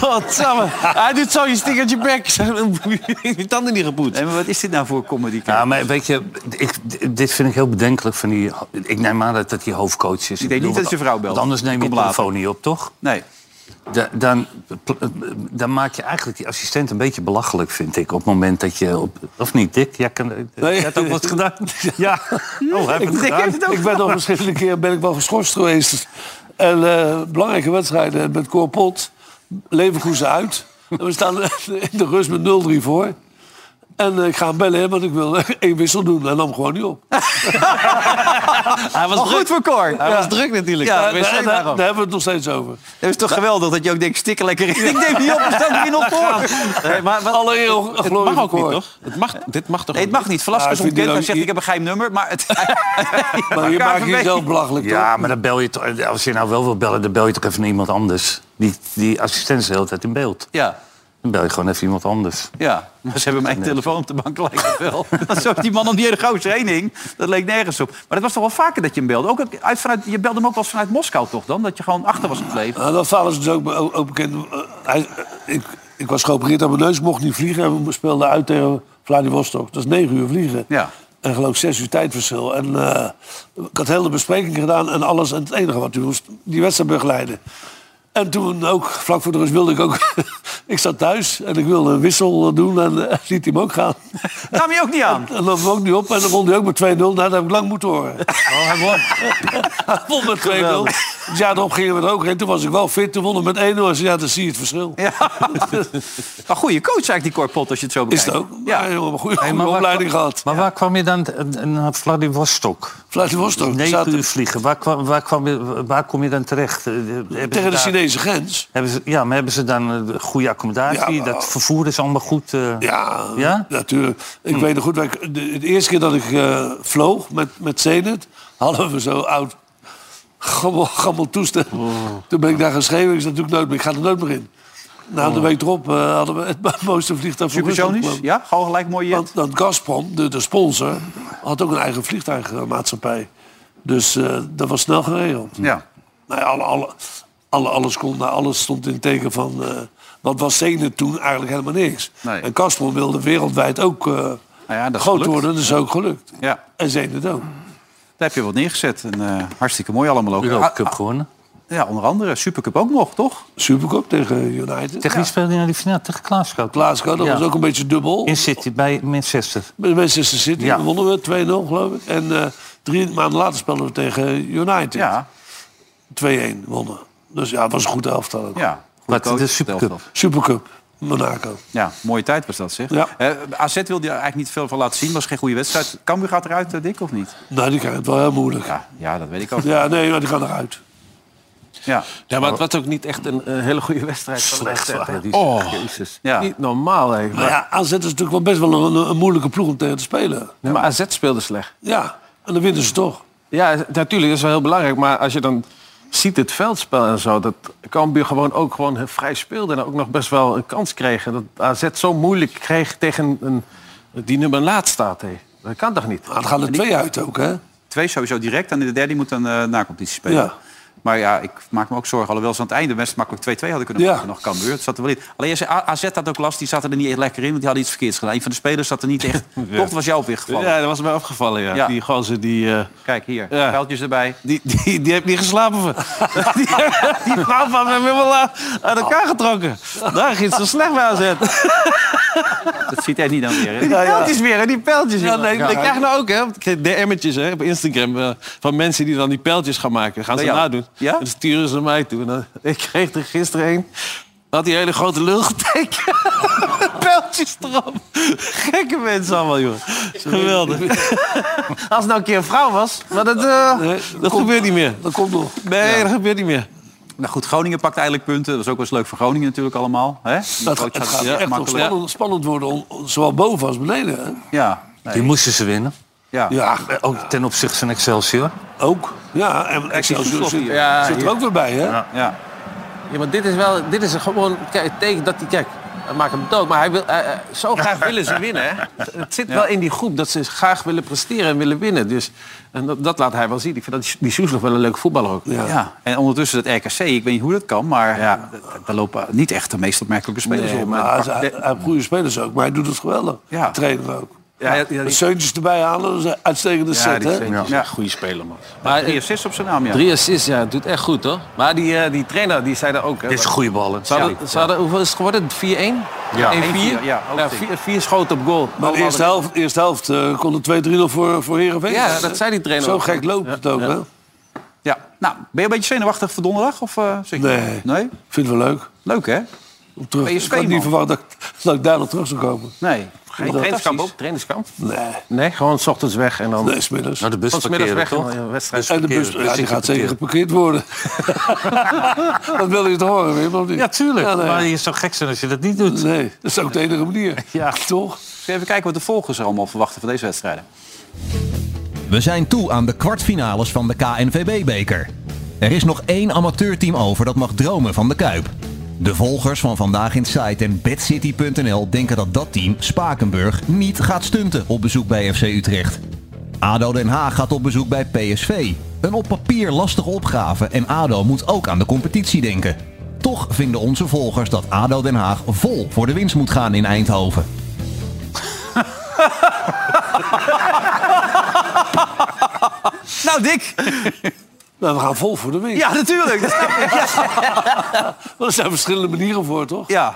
N: Godsamme. Hij doet zo je stik uit je bek. Je tanden niet gepoetst.
A: Nee, maar wat is dit nou voor comedy?
C: Ja, maar weet je, ik, dit vind ik heel bedenkelijk van die... Ik neem aan dat dat die hoofdcoach is. Ik
A: denk niet
C: bedoel,
A: dat je vrouw belt.
C: Want anders neem je
A: Kom
C: de
A: later.
C: telefoon niet op, toch?
A: Nee.
C: Da- dan, dan maak je eigenlijk die assistent een beetje belachelijk, vind ik. Op het moment dat je... Op, of niet, Dick? Jij, kan, jij hebt ook wat gedaan. <laughs> Ja. Oh, hij heeft
D: Ik,
C: het gedaan.
D: ik ben nog verschillende keer ben ik wel geschorst geweest. En eh, belangrijke wedstrijden met Cor Pot. Leverkusen uit. En we staan in de rust met 0-3 voor. En eh, ik ga hem bellen, want ik wil <laughs> één wissel doen. En nam gewoon niet op.
N: Hij was
A: Al
N: druk.
A: goed voor Cor.
N: Hij was druk natuurlijk.
A: Ja,
N: Ja,
A: we zijn
N: daar,
A: daar
N: daar,
A: al.
D: Daar hebben we het nog steeds over.
A: Dat is toch geweldig dat je ook denkt, stik er lekker in. Ik neem niet op, er staat hier nog <laughs> voor.
N: Nee, maar wat-
D: Alle eeuw
N: het
D: glorie
N: mag ook
D: voor.
N: niet, toch? Het mag, dit mag toch
A: Nee, het mag niet. Velasquez
D: Ah, ik vind die
A: ontkent en
D: dan-
A: zegt, ik heb een geheim nummer. Maar, het,
D: Maar je maakt
A: KVB.
D: jezelf belachelijk, toch?
C: Ja, maar dan bel je toch, als je nou wel wil bellen, dan bel je toch even naar iemand anders. Die, die assistent is de hele tijd in beeld.
A: Ja.
C: Dan bel je gewoon even iemand anders.
A: Ja, maar ze hebben mijn
C: Nee.
A: telefoon op de bank lijkt het wel. <laughs> Dat zo die man om die hele gozer heen hing, dat leek nergens op. Maar dat was toch wel vaker dat je hem belde. Ook uit, vanuit, je belde hem ook wel eens vanuit Moskou toch dan? Dat je gewoon achter was
D: <laughs>
A: gebleven.
D: Nou, dat verhaal is dus ook, be- ook bekend. Eh, hij, eh, ik, ik was geopereerd aan mijn neus, mocht niet vliegen. En we speelden uit tegen Vladivostok. Dat is negen uur vliegen.
A: Ja.
D: En geloof ik zes uur tijdverschil. En eh, ik had heel de bespreking gedaan en alles. En het enige wat u moest, die wedstrijd begeleiden. En toen ook, vlak voor de rust wilde ik ook... <laughs> ik zat thuis en ik wilde een wissel doen en eh, <laughs> liet hij hem ook gaan.
A: Nam je ook niet aan?
D: En dan kwam ik niet op en dan won hij ook met 2-0. Nou, dat heb ik lang moeten horen.
N: Oh, hij won.
D: Hij won met 2-0. Het jaar erop Dus gingen we er ook heen. Toen was ik wel fit. Toen won ik met 1-0. En zei, ja, dan zie je het verschil. <laughs>
A: Ja. Maar goede coach eigenlijk die Korpot als je het zo
D: Is
A: bekijkt.
D: het ook? Ja, een goede,
C: Hey,
D: goede
C: waar-
D: opleiding gehad.
C: Maar waar kwam je dan t- naar Vladivostok?
D: Vladivostok.
C: Negen
D: Zaten-
C: uur vliegen. Waar, kwam, waar, kwam je, waar kom je dan terecht? Eh, hebben ze
D: Tegen de
C: daar-
D: Chinese grens.
C: Hebben ze, ja, maar hebben ze dan eh, goede accommodatie?
D: Ja, maar-
C: dat vervoer is allemaal goed? eh?
D: Ja,
C: Ja? Hm.
D: natuurlijk. Ik weet nog goed, wij- de, de eerste keer dat ik eh, vloog met, met Zenit... hadden we zo oud gammel, gammel toestel.
C: Oh.
D: Toen ben ik daar geschreven. Ik zei, natuurlijk nooit meer. Ik ga er nooit meer in. Na
C: Oh.
D: de week erop eh, hadden we het <laughs> mooiste vliegtuig voor
A: Supersonisch?
D: Rusland.
A: Ja, gewoon gelijk mooi jet.
D: Want, want Gazprom, de, de sponsor, had ook een eigen vliegtuigmaatschappij. Dus eh, dat was snel geregeld.
A: Ja.
D: Nou ja, alle, alle, alle, alles, kon, nou, alles stond in het teken van... eh, wat was Zenit toen eigenlijk helemaal niks.
A: Nee. Nou
D: En Gazprom wilde wereldwijd ook eh,
A: ja, dat is
D: groot
A: gelukt.
D: worden. Dat is ook gelukt.
A: Ja,
D: En Zenit
A: daar
D: ook.
A: heb je wat neergezet. En, eh, hartstikke mooi allemaal ook.
C: Europa Cup
A: Ah, ah,
C: gewonnen.
A: Ja, onder andere. Supercup ook nog, toch?
D: Supercup tegen United.
C: Tegen wie speelde je nou die finale? Tegen Glasgow. toch?
D: Glasgow, dat
C: Ja.
D: was ook een beetje dubbel.
C: In City, bij Manchester.
D: Met Manchester City
C: Ja.
D: wonnen we 2-0 geloof ik. En eh, drie maanden later speelden we tegen United.
A: Ja.
D: 2-1 wonnen. Dus ja, het was een goed elftal ook.
A: Ja. goede
C: Wat,
A: coach,
C: de
A: elftal.
C: Supercup.
D: Supercup, Monaco.
A: Ja, mooie tijd was dat, zeg.
D: Ja.
A: Eh, AZ wilde er eigenlijk niet veel van laten zien. Was geen goede wedstrijd. Cambuur gaat eruit, eh, Dick, of niet?
D: Nou, die krijgen het wel heel moeilijk.
A: Ja, ja dat weet ik
D: <laughs>
A: ook.
D: Ja, nee, maar die gaan eruit.
A: Ja.
B: Ja, maar het was ook niet echt een, eh, hele goede wedstrijd. van de
C: Slecht
B: SZ, hè?
C: waren die.
B: Oh, jezus.
A: Ja.
B: Niet normaal, hè.
D: Maar ja, AZ is natuurlijk wel best wel een, een moeilijke ploeg om tegen te spelen.
B: Nee, maar AZ speelde slecht.
D: Ja, en dan winnen ze toch.
B: Ja, natuurlijk, dat is wel heel belangrijk. Maar als je dan ziet het veldspel en zo. Dat Cambuur gewoon ook gewoon vrij speelde. En ook nog best wel een kans kreeg. En dat AZ zo moeilijk kreeg tegen een, die nummer laat staat. Hé. Dat kan toch niet?
D: het gaan Ah, er twee uit ook, hè?
A: Twee sowieso direct. En de derde die moet dan eh, na competitie spelen.
D: Ja.
A: Maar ja, ik maak me ook zorgen. Alhoewel ze aan het einde best makkelijk 2-2 hadden kunnen maken. Nog Cambuur. Het zat er wel in. Alleen je zei, A- AZ had ook last. Die zaten er niet echt lekker in. Want die hadden iets verkeerds gedaan. Een van de spelers zat er niet echt... Toch was jou opgevallen.
B: Ja, dat was mij opgevallen. Ja.
A: Ja.
B: Die gozer die... eh,
A: Kijk hier.
B: Ja.
A: Pijltjes <laughs> erbij.
B: Die, die, die heeft niet geslapen van. <laughs> die die vrouw van me heeft helemaal aan- uit elkaar getrokken. Daar ging het zo slecht bij AZ.
A: Dat ziet hij niet dan weer. hè?
B: Die pijltjes weer, hè? die pijltjes. Ja, nee,
A: Ja.
B: Ik krijg nou ook hè, ik krijg DM'tjes hè, op Instagram eh, van mensen die dan die pijltjes gaan maken. Gaan ze
A: Bij jou?
B: nadoen.
A: Ja?
B: En dan sturen ze mij toe. En dan, <laughs> ik kreeg er gisteren een. Had die hele grote lul getekend. <laughs> Pijltjes erop. Gekke mensen allemaal, joh. <laughs> Geweldig. Als het nou een keer een vrouw was, maar dat, eh, dat gebeurt niet meer.
D: Dat komt nog.
B: Nee, dat gebeurt niet meer.
A: Nou goed, Groningen pakt eigenlijk punten. Dat was ook wel eens leuk voor Groningen natuurlijk allemaal. Hè? Die
D: Dat,
A: coach dus
D: het
A: had
D: gaat
A: het
D: echt nog
A: makkelijk.
D: spannend, spannend worden, on- on- zowel boven als beneden. hè?
A: Ja. nee.
C: Die moesten ze winnen.
A: Ja.
D: Ja,
C: Ook ten opzichte van Excelsior.
D: ook. Ja, en Excelsior
B: Excelsior.
D: zit,
B: Ja,
D: zit er
B: hier.
D: ook weer bij, hè?
A: Ja.
E: Ja, maar dit is wel, dit is gewoon kijk, teken dat hij kijk, hij maakt hem dood, maar hij wil, eh, eh, zo graag willen ze winnen. Hè? Het- Het zit wel in die groep dat ze graag willen presteren en willen winnen. Dus en dat, dat laat hij wel zien. Ik vind dat die- die Soeslof wel een leuke voetballer ook.
A: Ja. en ondertussen dat RKC, ik weet niet hoe dat kan, maar ja. daar lopen niet echt de meest opmerkelijke spelers
D: Nee,
A: op.
D: maar hij, hij- hij heeft goede spelers ook, maar hij doet het geweldig.
A: Ja.
D: De trainer ook.
A: Ja, ja, ja,
D: De
A: die-
D: Seuntjes erbij halen, dat is een uitstekende
B: Ja,
D: set,
B: die
D: hè?
B: Seuntjes is
A: Ja.
B: een goede speler, man.
E: Maar,
A: Drie
E: eh,
A: assists op zijn naam, ja.
E: drie assists, ja, het doet echt goed hoor. Maar die, eh, die trainer die zei daar ook. Hè,
C: Dit is een
E: wat-
C: goede ballen.
E: ze hadden, ze hadden- hoeveel is het geworden? 4-1?
C: Ja.
E: 1-4?
A: 1-4, ja, ook zeker.
E: vier, vier schoten op goal.
D: Maar de
E: Allemaal
D: eerste helft, eerste helft eh, kon er 2-3-0 voor, voor Heerenveen.
E: Ja,
D: staan,
E: dat
D: hè?
E: zei die trainer
D: Zo
E: ook.
D: gek loopt het ook, hè?
A: ja. Nou, ben je een beetje zenuwachtig voor donderdag? Of, eh, zeg je-
D: Nee.
A: nee.
D: Vind het wel leuk.
A: Leuk, hè?
D: Om terug.
A: PSV,
D: Ik had
A: man.
D: niet verwacht dat, ik- dat ik daar nog terug zou komen.
A: Nee.
E: Geen trainingskamp ook? Trainingskamp?
D: Nee,
B: Nee, gewoon s ochtends weg en dan...
D: nee, smiddags.
C: Nou, de bus
B: Van 's middags
C: parkeren,
B: weg
E: Dus-
C: toch?
B: en dan, ja, wedstrijd.
D: En de bus, ja, die gaat zeker geparkeerd worden. dat wil je toch horen, Wim, of niet?
N: Ja, tuurlijk.
D: nee.
N: Maar je zou gek zijn als je dat niet doet.
D: Nee, dat is ook de enige manier. Ja. Toch?
A: Eens Even kijken wat de volgers er allemaal verwachten van deze wedstrijden.
O: We zijn toe aan de kwartfinales van de KNVB-beker. Er is nog één amateurteam over dat mag dromen van de Kuip. De volgers van Vandaag in Site en BadCity.nl denken dat dat team, Spakenburg, niet gaat stunten op bezoek bij FC Utrecht. ADO Den Haag gaat op bezoek bij PSV. Een op papier lastige opgave en ADO moet ook aan de competitie denken. Toch vinden onze volgers dat ADO Den Haag vol voor de winst moet gaan in Eindhoven.
A: Nou, <laughs> Dick!
D: Nou, we gaan vol voor de winst.
A: Ja, natuurlijk. Dat snap ik.
D: Maar er zijn verschillende manieren voor, toch?
A: Ja.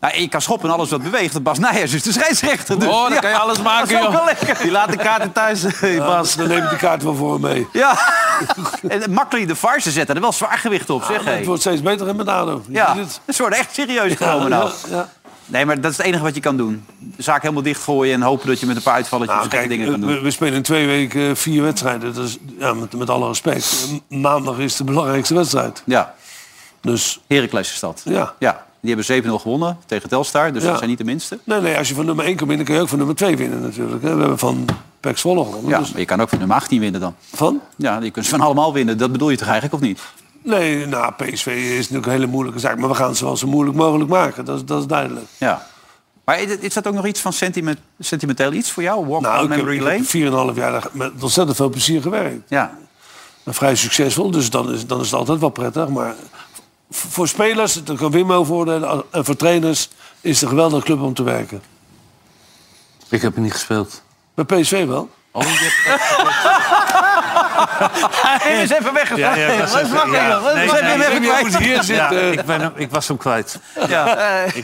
A: Nou, ik kan schoppen en alles wat beweegt. En Bas Nijers is de scheidsrechter. Dus,
B: Oh, dan
A: ja.
B: kan je alles
A: Dat is
B: maken,
A: ook wel
B: joh.
A: lekker.
B: Die laat de kaarten thuis, eh, Bas.
D: Dan neem ik de kaart wel voor hem mee.
A: Ja. <laughs> en makkelijk de farsen zetten er wel zwaar gewicht op,
B: Ah,
A: zeg.
D: Het
A: hé.
D: wordt steeds beter in Menado. Je
A: Ja,
D: ziet het.
A: ze worden echt serieus genomen nou.
D: Ja, ja.
A: Nee, maar dat is het enige wat je kan doen. De zaak helemaal dichtgooien en hopen dat je met een paar uitvalletjes
D: Nou,
A: gekke
D: kijk,
A: dingen kan
B: eh,
A: doen.
D: we, we spelen in twee weken eh, vier wedstrijden. Dus, ja, met, met alle respect. eh, Maandag is de belangrijkste wedstrijd.
A: Ja,
D: Dus
A: Heracles is dat.
D: Ja.
A: Die hebben 7-0 gewonnen tegen Telstar, dus
D: Ja.
A: dat zijn niet de minste.
D: nee, nee, als je van nummer 1 kan winnen, kun je ook van nummer 2 winnen natuurlijk. hè. We hebben van Pek Zwolle gewonnen.
A: Ja,
D: Dus
A: maar je kan ook van nummer 18 winnen dan.
D: van?
A: Ja, je kunt ze van allemaal winnen. Dat bedoel je toch eigenlijk, of niet?
D: Nee, nou, PSV is natuurlijk een hele moeilijke zaak. Maar we gaan het wel zo moeilijk mogelijk maken. Dat, is- dat is duidelijk.
A: Ja. Maar is, is dat ook nog iets van sentiment, sentimenteel iets voor jou? Walk
D: Nou,
A: down
D: ik heb,
A: memory lane?
D: ik heb 4,5 jaar daar met ontzettend veel plezier gewerkt.
A: Ja.
D: En vrij succesvol, dus dan is, dan is het altijd wel prettig. Maar v- voor spelers, daar kan Wim over oordelen, al- en voor trainers is het een geweldige club om te werken.
C: Ik heb er niet gespeeld.
D: Bij PSV wel.
A: <laughs> Hij is even
N: Ja,
A: weggevraagd.
N: ja,
A: <laughs>
N: ik was
A: Wat is
N: even-
A: wakker,
N: ja.
A: joh? Wat
N: Nee,
A: is-
N: nee,
A: heb je hem
N: ik weet
A: even
N: niet
A: kwijt?
N: hoe het hier zit.
A: <laughs> Ja.
N: eh. ik, ben, hem- ik was hem kwijt.
A: <laughs> Ja.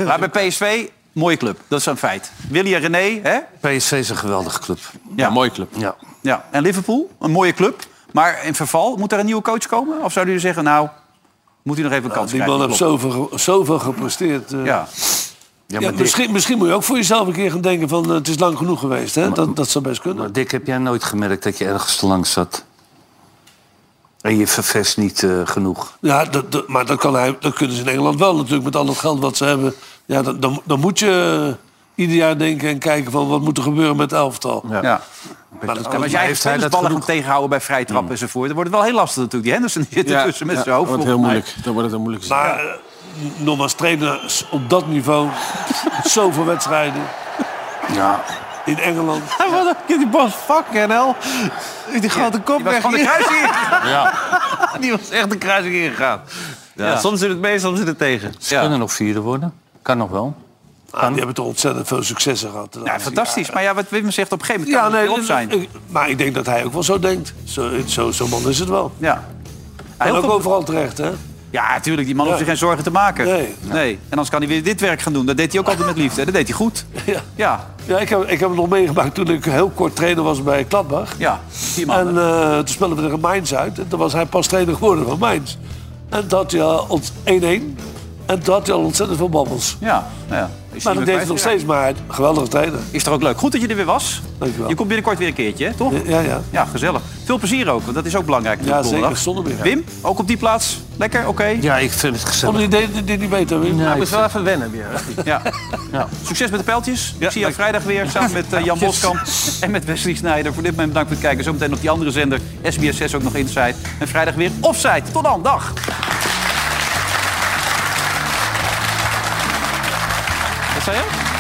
A: Maar bij PSV, mooie club. Dat is een feit. Willy en René, hè?
C: PSV is een geweldige club.
A: Ja,
B: Mooie club.
C: Ja.
A: Ja, en Liverpool, een mooie club. Maar in verval, moet er een nieuwe coach komen? Of zouden jullie zeggen, nou, moet hij nog even een kans
D: Die man
A: krijgen?
D: heeft zoveel, ge- zoveel gepresteerd. eh.
A: Ja,
D: Ja,
C: maar Dick-
D: misschien, misschien moet je ook voor jezelf een keer gaan denken van eh, het is lang genoeg geweest. Hè? Dat, dat zou best kunnen.
C: Maar Dick, heb jij nooit gemerkt dat je ergens te lang zat? En je vervest niet eh, genoeg.
D: Ja, dat, dat- maar dat, kan hij, dat kunnen ze in Engeland wel natuurlijk met al het geld wat ze hebben. Ja, dan, dan, dan moet je eh, ieder jaar denken en kijken van wat moet er gebeuren met het elftal.
A: Ja.
D: Maar dat
A: Ja, maar als jij heeft ballen gaat tegenhouden bij vrijtrappen enzovoort... dan wordt het wel heel lastig natuurlijk. Die Henderson die zit
D: Ja,
A: ertussen met
D: ja,
A: zijn hoofd.
D: wordt
A: volgens
D: heel
A: mij.
D: moeilijk. Maar eh, nogmaals, trainers op dat niveau, <laughs> zoveel wedstrijden.
C: Ja.
D: In Engeland.
N: Wat een die bos fuck NL. Die grote kop
A: die was
N: weg.
A: van de kruising ingegaan.
N: Ja. Die was echt de kruising ingegaan. Ja,
A: Ja.
N: Soms zit het mee, soms zit het tegen.
C: Ze kunnen nog vierde worden. Kan nog wel.
D: Ah, die hebben toch ontzettend veel successen gehad.
A: Ja, fantastisch. Maar ja, wat Wim zegt, op een gegeven
D: Ja,
A: moment kan
D: nee,
A: het op zijn.
D: ik- maar ik denk dat hij ook wel zo denkt. Zo'n zo, zo man is het wel.
A: Ja.
D: En
A: Heel
D: ook
A: veel-
D: overal terecht, hè?
A: Ja, natuurlijk. Die man hoeft
D: Ja.
A: zich geen zorgen te maken.
D: Nee.
A: nee. En anders kan hij weer dit werk gaan doen. Dat deed hij ook altijd met liefde. Dat deed hij goed.
D: <laughs> Ja.
A: Ja.
D: Ja, ik, heb, ik heb het nog meegemaakt toen ik heel kort trainer was bij Gladbach.
A: Ja, vier maanden.
D: En eh, toen speelden we tegen Mainz uit. En toen was hij pas trainer geworden van Mainz. En dat had hij al ont- 1-1. En dat had hij al ontzettend veel babbels.
A: Ja, nou ja. Is
D: Maar
A: hij
D: dat
A: weer
D: deed hij nog
A: kwijt.
D: steeds. Maar hij- geweldige trainer.
A: Is toch ook leuk. Goed dat je er weer was.
D: Dankjewel.
A: Je komt binnenkort weer een keertje, hè, toch?
D: Ja, ja.
A: Ja, gezellig. Veel plezier ook, want dat is ook belangrijk.
D: Ja,
A: natuurlijk donderdag.
D: zeker. Zonder meer.
A: Wim, ook op die plaats. Lekker, oké.
C: Ja, ik vind het
D: Vond
C: gezellig.
D: je dit, dit niet beter, Wim?
N: Hij moet wel even wennen weer.
A: Ja. Succes met de pijltjes. Ik zie jou vrijdag weer samen met eh, Jan Boskamp en met Wesley Snijder. Voor dit moment bedankt voor het kijken. Zometeen op die andere zender SBS6 ook nog Inside. En vrijdag weer Offside. Tot dan, dag. Wat zei je?